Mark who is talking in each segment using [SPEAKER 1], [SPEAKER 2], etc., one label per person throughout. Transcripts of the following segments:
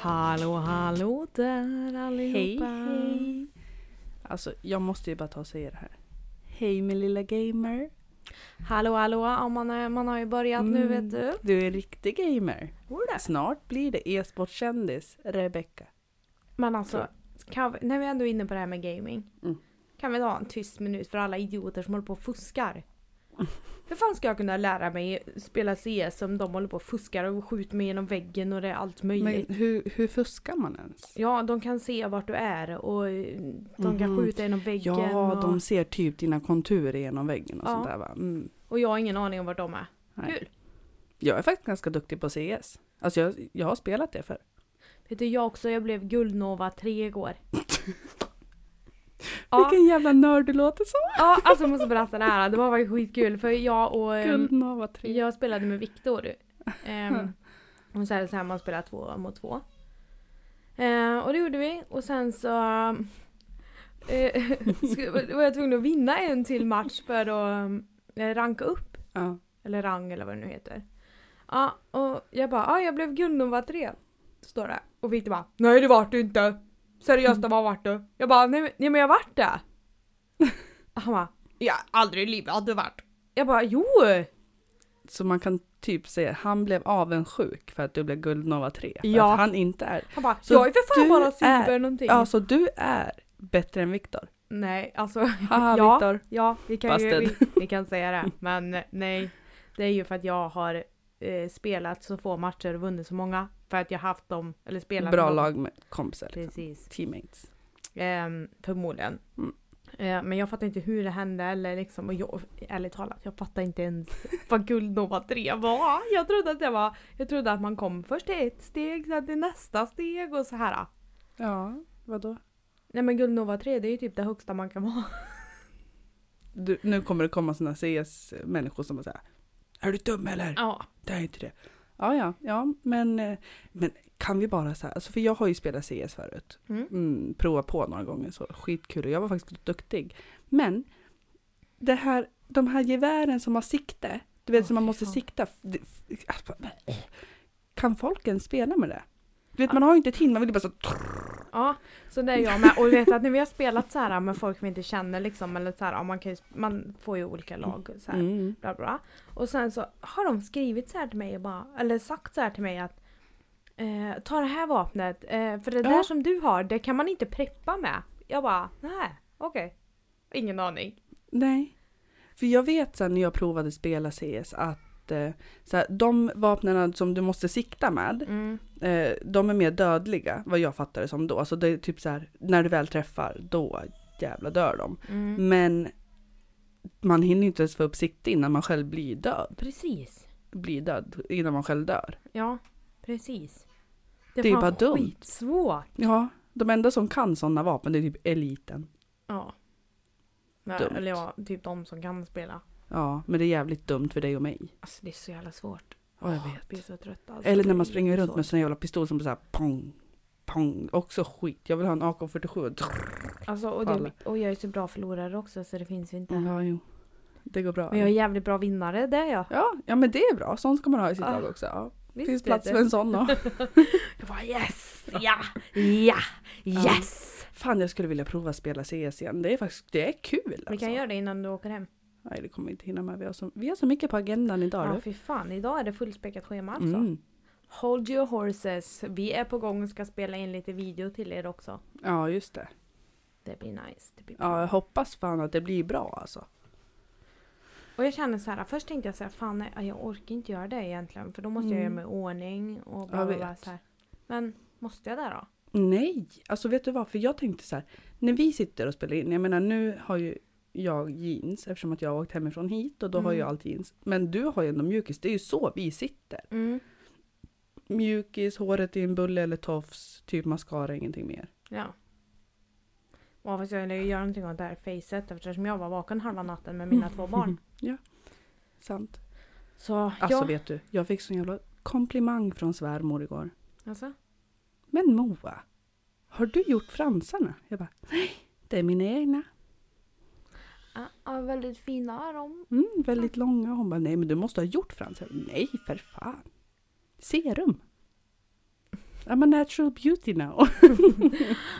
[SPEAKER 1] Hallå hallå där allihopa!
[SPEAKER 2] hej. Alltså jag måste ju bara ta och säga det här. Hej min lilla gamer.
[SPEAKER 1] Hallå hallå! Ja, man, är, man har ju börjat nu
[SPEAKER 2] Mm.
[SPEAKER 1] vet du.
[SPEAKER 2] Du är en riktig gamer. Snart blir det e-sportkändis Rebecca.
[SPEAKER 1] Men alltså, kan vi, när vi ändå är inne på det här med gaming.
[SPEAKER 2] Mm.
[SPEAKER 1] Kan vi ta en tyst minut för alla idioter som håller på och fuskar? Hur fan ska jag kunna lära mig spela CS om de håller på och fuskar och skjuter mig genom väggen och det är allt möjligt?
[SPEAKER 2] Men hur, hur fuskar man ens?
[SPEAKER 1] Ja, de kan se vart du är och eh, de kan
[SPEAKER 2] Mhm.
[SPEAKER 1] skjuta genom väggen.
[SPEAKER 2] Ja,
[SPEAKER 1] och,
[SPEAKER 2] de ser typ dina konturer genom väggen och
[SPEAKER 1] Ja.
[SPEAKER 2] sånt där va? Mm.
[SPEAKER 1] och jag har ingen aning om vart de är.
[SPEAKER 2] Nej.
[SPEAKER 1] Kul.
[SPEAKER 2] Jag är faktiskt ganska duktig på CS. Alltså jag, jag har spelat det förr.
[SPEAKER 1] Vet du, jag också, jag blev guldnova 3 igår. ja,
[SPEAKER 2] Vilken jävla nörd du låter som!
[SPEAKER 1] ja, alltså jag måste berätta det här. Det var faktiskt skitkul för jag och... ehm,
[SPEAKER 2] Guldnova 3.
[SPEAKER 1] Jag spelade med Viktor. Ehm, och så är det så här, man spelar två mot två. Ehm, och det gjorde vi och sen så... eh, skulle- var jag tvungen att vinna en till match för att eh, ranka upp.
[SPEAKER 2] Ja.
[SPEAKER 1] Eller rang eller vad det nu heter. Ja, och jag bara, ja jag blev guldnummer tre. Står det. Och Victor bara, nej det vart du inte. Seriöst,
[SPEAKER 2] Mm.
[SPEAKER 1] vad vart du? Jag bara, nej, men- nej men jag vart det. Han bara, jag aldrig i livet hade varit. Jag bara, jo!
[SPEAKER 2] Så man kan typ säga han blev avundsjuk för att du blev guldnova 3. För
[SPEAKER 1] Ja.
[SPEAKER 2] att han inte är
[SPEAKER 1] Han bara,
[SPEAKER 2] Så
[SPEAKER 1] jag är för fan
[SPEAKER 2] du
[SPEAKER 1] bara
[SPEAKER 2] är-
[SPEAKER 1] silver någonting.
[SPEAKER 2] Ja, så du är bättre än Viktor.
[SPEAKER 1] Nej, alltså,
[SPEAKER 2] Haha,
[SPEAKER 1] Ja.
[SPEAKER 2] Viktor.
[SPEAKER 1] ja vi kan ju,
[SPEAKER 2] Busted.
[SPEAKER 1] vi, vi kan säga det. Men eh, nej, det är ju för att jag har eh, spelat så få matcher och vunnit så många. För att jag haft dem, eller spelat med
[SPEAKER 2] Bra
[SPEAKER 1] dem.
[SPEAKER 2] lag med kompisar. Liksom.
[SPEAKER 1] Precis.
[SPEAKER 2] Teammates.
[SPEAKER 1] Ehm, förmodligen.
[SPEAKER 2] Mm.
[SPEAKER 1] Eh, men jag fattar inte hur det hände eller liksom, och jag, ärligt talat, jag fattar inte ens vad guldnova 3 var. Jag trodde att det var, jag trodde att man kom först till ett steg, sen till nästa steg och så här.
[SPEAKER 2] Ja, vadå?
[SPEAKER 1] Nej men guldnova 3 det är ju typ det högsta man kan vara.
[SPEAKER 2] Du, nu kommer det komma sådana CS-människor som bara säger Är du dum eller?
[SPEAKER 1] Ja.
[SPEAKER 2] Det är inte det. Ja, ja, ja, men, eh, men kan vi bara så här, alltså för jag har ju spelat CS förut.
[SPEAKER 1] Mm.
[SPEAKER 2] Mm, prova på några gånger så, skitkul och jag var faktiskt duktig. Men det här, de här gevären som har sikte, du vet
[SPEAKER 1] Åh,
[SPEAKER 2] som man
[SPEAKER 1] fy
[SPEAKER 2] måste
[SPEAKER 1] fan.
[SPEAKER 2] sikta. det- alltså, Kan folk ens spela med det? Du vet man har ju inte tid, man vill ju bara så
[SPEAKER 1] Ja, så det är jag med. Och vet att när vi har spelat så här med folk vi inte känner liksom, eller så här, ja, man, kan ju, man får ju olika lag och så här.
[SPEAKER 2] Mm.
[SPEAKER 1] bla bla. Och sen så har de skrivit så här till mig, och bara, eller sagt så här till mig att eh, ta det här vapnet, eh, för det
[SPEAKER 2] Ja.
[SPEAKER 1] där som du har, det kan man inte preppa med. Jag bara, nej, okej. Ingen aning.
[SPEAKER 2] Nej. För jag vet sen när jag provade spela CS att eh, så här, de vapnen som du måste sikta med,
[SPEAKER 1] Mm,
[SPEAKER 2] eh, de är mer dödliga vad jag fattar det som då. Alltså det är typ så här, när du väl träffar då jävla dör de.
[SPEAKER 1] Mm.
[SPEAKER 2] Men man hinner ju inte ens få upp sikte innan man själv blir död.
[SPEAKER 1] Precis.
[SPEAKER 2] Blir död innan man själv dör.
[SPEAKER 1] Ja, precis.
[SPEAKER 2] Det är
[SPEAKER 1] fan
[SPEAKER 2] bara dumt.
[SPEAKER 1] skitsvårt.
[SPEAKER 2] Ja, de enda som kan sådana vapen det är typ eliten.
[SPEAKER 1] Ja. Nej,
[SPEAKER 2] Dumt.
[SPEAKER 1] Eller ja, typ de som kan spela.
[SPEAKER 2] Ja, men det är jävligt dumt för dig och mig.
[SPEAKER 1] Alltså det är så jävla svårt.
[SPEAKER 2] Ja, jag
[SPEAKER 1] Åh,
[SPEAKER 2] vet.
[SPEAKER 1] blir så trött alltså.
[SPEAKER 2] Eller när
[SPEAKER 1] Det är
[SPEAKER 2] man springer runt med
[SPEAKER 1] jättesvårt.
[SPEAKER 2] sån jävla pistol som blir såhär pong, pong. Också skit. Jag vill ha en AK47.
[SPEAKER 1] Alltså och,
[SPEAKER 2] Alla.
[SPEAKER 1] det, och jag är så bra förlorare också så det finns ju inte.
[SPEAKER 2] Ja, jo. Det går bra.
[SPEAKER 1] Men jag är jävligt bra vinnare, det är jag.
[SPEAKER 2] Ja, ja, men det är bra. Sånt ska man ha i sitt
[SPEAKER 1] Ah.
[SPEAKER 2] lag också. Ja.
[SPEAKER 1] Visst
[SPEAKER 2] finns
[SPEAKER 1] vet
[SPEAKER 2] plats
[SPEAKER 1] du.
[SPEAKER 2] för en sån då.
[SPEAKER 1] Jag bara yes, ja, ja, yes!
[SPEAKER 2] Fan, jag skulle vilja prova att spela CS igen. Det är faktiskt det är kul. Alltså.
[SPEAKER 1] Vi kan göra det innan du åker hem.
[SPEAKER 2] Nej, det kommer vi inte hinna med. Vi har så, vi har så mycket på agendan idag.
[SPEAKER 1] Ja,
[SPEAKER 2] du.
[SPEAKER 1] fy fan, idag är det fullspäckat schema alltså.
[SPEAKER 2] Mm.
[SPEAKER 1] Hold your horses. Vi är på gång och ska spela in lite video till er också.
[SPEAKER 2] Ja, just det.
[SPEAKER 1] Det blir nice. Det blir
[SPEAKER 2] Ja,
[SPEAKER 1] bra.
[SPEAKER 2] jag hoppas fan att det blir bra alltså.
[SPEAKER 1] Och jag känner så här, först tänkte jag så här, fan nej, jag orkar inte göra det egentligen för då måste jag
[SPEAKER 2] Mm.
[SPEAKER 1] göra mig i ordning och
[SPEAKER 2] Jag
[SPEAKER 1] bla, bla, bla,
[SPEAKER 2] vet.
[SPEAKER 1] så här. Men måste jag det då?
[SPEAKER 2] Nej, alltså vet du vad? För jag tänkte så här, när vi sitter och spelar in, jag menar nu har ju jag jeans eftersom att jag har åkt hemifrån hit och då har
[SPEAKER 1] Mm.
[SPEAKER 2] jag allt jeans. Men du har ju ändå mjukis, det är ju så vi sitter.
[SPEAKER 1] Mm.
[SPEAKER 2] Mjukis, håret i en bulle eller tofs, typ mascara, ingenting mer.
[SPEAKER 1] Ja. Ja fast jag ville ju göra någonting åt det här facet eftersom jag var vaken halva natten med mina två barn.
[SPEAKER 2] Mm. Sant.
[SPEAKER 1] Så
[SPEAKER 2] Alltså
[SPEAKER 1] ja.
[SPEAKER 2] vet du, jag fick sån jävla komplimang från svärmor igår.
[SPEAKER 1] Alltså.
[SPEAKER 2] Men Moa, har du gjort fransarna? Jag bara, nej, det är mina egna.
[SPEAKER 1] Ja, ja, väldigt fina är de.
[SPEAKER 2] Mm, väldigt långa. Hon bara, nej men du måste ha gjort fransar. Nej, för fan. Serum. I'm a natural beauty now.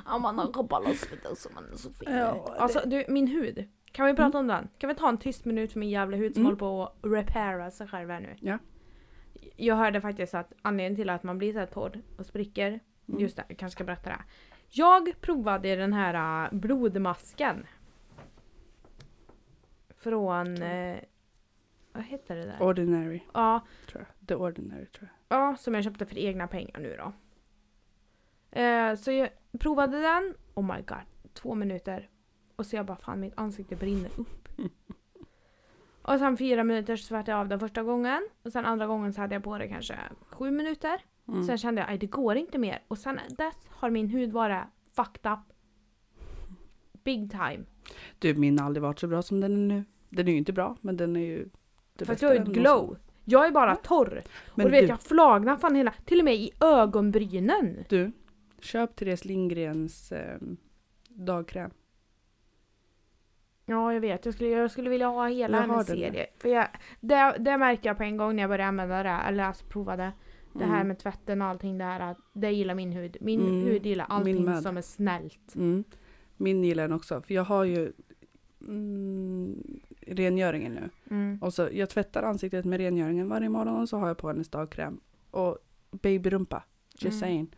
[SPEAKER 3] Ja, man har kabbalas lite så man är så fin.
[SPEAKER 2] Ja,
[SPEAKER 1] Alltså du, min hud. Kan vi prata om den? Kan vi ta en tyst minut för min jävla hud som
[SPEAKER 2] Mm.
[SPEAKER 1] håller på att repaira sig själv här nu?
[SPEAKER 2] Ja.
[SPEAKER 1] Jag hörde faktiskt att anledningen till att man blir så här torr och spricker,
[SPEAKER 2] Mm.
[SPEAKER 1] just det, jag kanske ska berätta det. här. Jag provade den här äh, blodmasken. Från... Eh, vad heter det där?
[SPEAKER 2] Ordinary,
[SPEAKER 1] Ja,
[SPEAKER 2] tror jag. The Ordinary, tror jag.
[SPEAKER 1] Ja, som jag köpte för egna pengar nu då. Eh, så jag provade den, oh my god, två minuter. Och så jag bara fan mitt ansikte brinner upp. och sen fyra minuter så svärtade jag av den första gången. Och sen andra gången så hade jag på det kanske sju minuter.
[SPEAKER 2] Mm.
[SPEAKER 1] Sen kände jag att det går inte mer. Och sen dess har min hud varit fucked up. Big time.
[SPEAKER 2] Du, min har aldrig varit så bra som den är nu. Den är ju inte bra, men den är ju det
[SPEAKER 1] Fast
[SPEAKER 2] bästa
[SPEAKER 1] jag har ju ett
[SPEAKER 2] den
[SPEAKER 1] glow.
[SPEAKER 2] någonsin. Mm.
[SPEAKER 1] Jag är bara torr.
[SPEAKER 2] Men
[SPEAKER 1] och du vet
[SPEAKER 2] du,
[SPEAKER 1] jag flagnar fan hela, till och med i ögonbrynen.
[SPEAKER 2] du, köp Therese Lindgrens eh, dagkräm.
[SPEAKER 1] Ja, jag vet. Jag skulle, jag skulle vilja ha hela
[SPEAKER 2] Jag har
[SPEAKER 1] hennes
[SPEAKER 2] den där.
[SPEAKER 1] serie. För jag, det, det märkte jag på en gång när jag började använda det, här, eller alltså prova det. Det här
[SPEAKER 2] Mm.
[SPEAKER 1] med tvätten och allting det här, att det gillar min hud. Min
[SPEAKER 2] Mm,
[SPEAKER 1] hud gillar
[SPEAKER 2] min
[SPEAKER 1] allting
[SPEAKER 2] med.
[SPEAKER 1] som är snällt.
[SPEAKER 2] Mm. Min gillar den också, för jag har ju mm, rengöringen nu.
[SPEAKER 1] Mm.
[SPEAKER 2] Och så, jag tvättar ansiktet med rengöringen varje morgon och så har jag på hennes dagkräm. Och babyrumpa, just
[SPEAKER 1] Mm.
[SPEAKER 2] saying.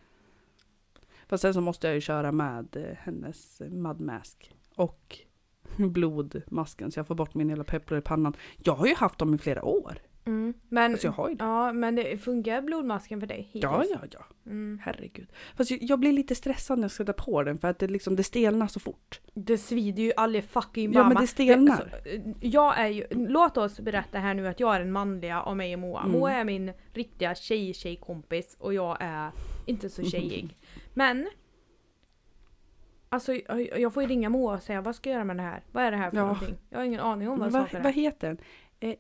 [SPEAKER 2] Fast sen så måste jag ju köra med eh, hennes mud mask och blodmasken så jag får bort min hela peplor i pannan. Jag har ju haft dem i flera år.
[SPEAKER 1] Mm. Men,
[SPEAKER 2] Alltså jag har ju det.
[SPEAKER 1] ja, men det funkar blodmasken för dig hittills?
[SPEAKER 2] Ja, ja, ja.
[SPEAKER 1] Mm.
[SPEAKER 2] Herregud. Fast jag, jag blir lite stressad när jag ska ta på den för att det, liksom, det stelnar så fort.
[SPEAKER 1] Det svider ju aldrig fucking mamma.
[SPEAKER 2] Ja, men det stelnar.
[SPEAKER 1] Alltså, jag är ju, låt oss berätta här nu att jag är den manliga av mig och Moa.
[SPEAKER 2] Mm.
[SPEAKER 1] Moa är min riktiga tjej-tjejkompis och jag är inte
[SPEAKER 2] Mm.
[SPEAKER 1] så tjejig. Men Alltså jag jag får ju ringa Moa och säga vad ska jag göra med det här? Vad är det här för
[SPEAKER 2] Ja.
[SPEAKER 1] någonting? Jag har ingen aning om vad
[SPEAKER 2] Vad,
[SPEAKER 1] jag ska
[SPEAKER 2] vad,
[SPEAKER 1] det är.
[SPEAKER 2] heter den? Eh,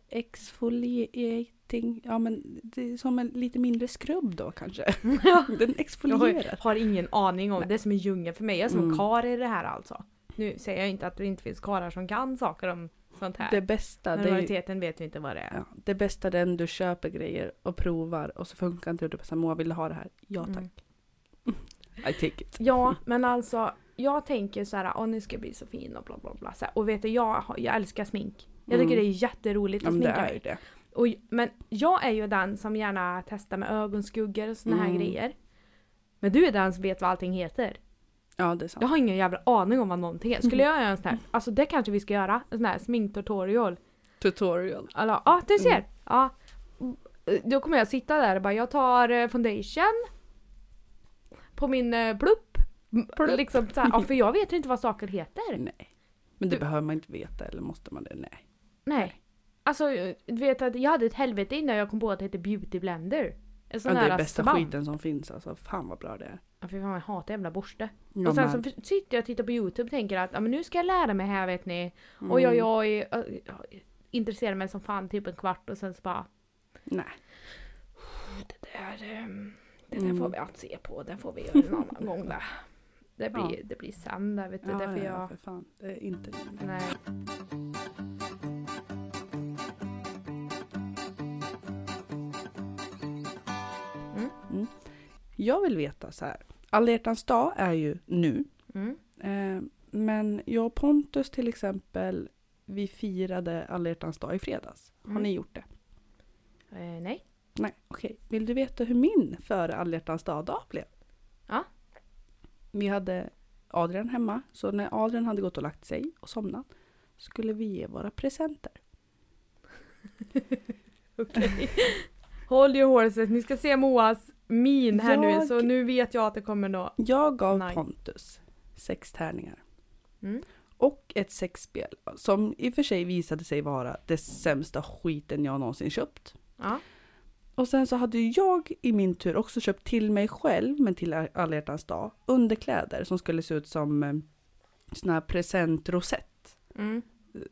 [SPEAKER 2] exfoliating. Ja, men det är som en lite mindre skrubb då kanske. den
[SPEAKER 1] Jag har,
[SPEAKER 2] exfolierar.
[SPEAKER 1] har ingen aning om. Det är som en djungel för mig. Jag är som en
[SPEAKER 2] Mm.
[SPEAKER 1] karl i det här alltså. Nu säger jag inte att det inte finns karlar som kan saker om sånt här.
[SPEAKER 2] Det bästa,
[SPEAKER 1] men
[SPEAKER 2] det, är,
[SPEAKER 1] majoriteten vet vi inte vad det är.
[SPEAKER 2] ja, det bästa är den du köper grejer och provar och så funkar inte det. Du bara så här, Moa vill du ha det här? Ja tack.
[SPEAKER 1] Mm.
[SPEAKER 2] I take it.
[SPEAKER 1] Ja, men alltså jag tänker så här, åh ni ska bli så fin och bla bla bla. Så här, och vet du, jag, har- jag älskar smink. Jag tycker
[SPEAKER 2] Mm.
[SPEAKER 1] det är jätteroligt
[SPEAKER 2] Ja,
[SPEAKER 1] att
[SPEAKER 2] men det
[SPEAKER 1] sminka
[SPEAKER 2] är ju
[SPEAKER 1] mig.
[SPEAKER 2] det.
[SPEAKER 1] Och, men jag är ju den som gärna testar med ögonskuggor och såna här
[SPEAKER 2] Mm.
[SPEAKER 1] grejer. Men du är den som vet vad allting heter.
[SPEAKER 2] Ja, det är sant.
[SPEAKER 1] Jag har ingen jävla aning om vad någonting heter. Skulle jag göra en sån här, alltså det kanske vi ska göra, en sån här sminktutorial.
[SPEAKER 2] Tutorial.
[SPEAKER 1] Alla, ja ah, du ser!
[SPEAKER 2] Mm.
[SPEAKER 1] Ja. Då kommer jag sitta där och bara, jag tar eh, foundation på min eh, plupp.
[SPEAKER 2] Plupp. Mm.
[SPEAKER 1] Liksom så här, ja, för jag vet ju inte vad saker heter.
[SPEAKER 2] Nej. Men det
[SPEAKER 1] Du-
[SPEAKER 2] behöver man inte veta eller måste man det? Nej.
[SPEAKER 1] Nej. Alltså, du vet att jag hade ett helvete innan jag kom på att det hette beauty blender. En
[SPEAKER 2] Ja,
[SPEAKER 1] sån
[SPEAKER 2] det
[SPEAKER 1] här
[SPEAKER 2] är bästa
[SPEAKER 1] svamm.
[SPEAKER 2] skiten som finns alltså. Fan vad bra det är.
[SPEAKER 1] Ja, fy fan, jag hatar jävla borste.
[SPEAKER 2] Ja,
[SPEAKER 1] och sen
[SPEAKER 2] men-
[SPEAKER 1] så f- sitter jag och tittar på youtube och tänker att ja, men nu ska jag lära mig här vet ni. Och jag,
[SPEAKER 2] Mm.
[SPEAKER 1] jag, är- ö- jag intresserar mig som fan typ en kvart och sen så bara
[SPEAKER 2] Mm. Nej.
[SPEAKER 1] det där, ehm, det där får
[SPEAKER 2] Mm.
[SPEAKER 1] vi att se på, det får vi göra en annan gång där. Det blir,
[SPEAKER 2] Ja.
[SPEAKER 1] det blir sen där vet du,
[SPEAKER 2] Ja,
[SPEAKER 1] därför
[SPEAKER 2] ja, ja,
[SPEAKER 1] jag...
[SPEAKER 2] för fan. Det är inte
[SPEAKER 1] Nej.
[SPEAKER 2] Jag vill veta så här. Alla hjärtans dag är ju nu.
[SPEAKER 1] Mm.
[SPEAKER 2] Eh, men jag och Pontus till exempel, vi firade alla hjärtans dag i fredags. Har
[SPEAKER 1] Mm.
[SPEAKER 2] ni gjort det?
[SPEAKER 1] Eh, nej.
[SPEAKER 2] Nej, okej. Vill du veta hur min före alla hjärtans dag-dag blev?
[SPEAKER 1] Ja.
[SPEAKER 2] Vi hade Adrian hemma, så när Adrian hade gått och lagt sig och somnat skulle vi ge våra presenter.
[SPEAKER 1] Okej. Håll your horses, ni ska se Moas min här nu
[SPEAKER 2] Jag-
[SPEAKER 1] så nu vet jag att det kommer nå.
[SPEAKER 2] Jag gav
[SPEAKER 1] Nej.
[SPEAKER 2] Pontus sex tärningar
[SPEAKER 1] Mm.
[SPEAKER 2] och ett sexspel som i och för sig visade sig vara det sämsta skiten jag någonsin köpt.
[SPEAKER 1] Ja.
[SPEAKER 2] Och sen så hade ju jag i min tur också köpt till mig själv, men till alla hjärtans dag, underkläder som skulle se ut som eh, sån här presentrosett.
[SPEAKER 1] Mm.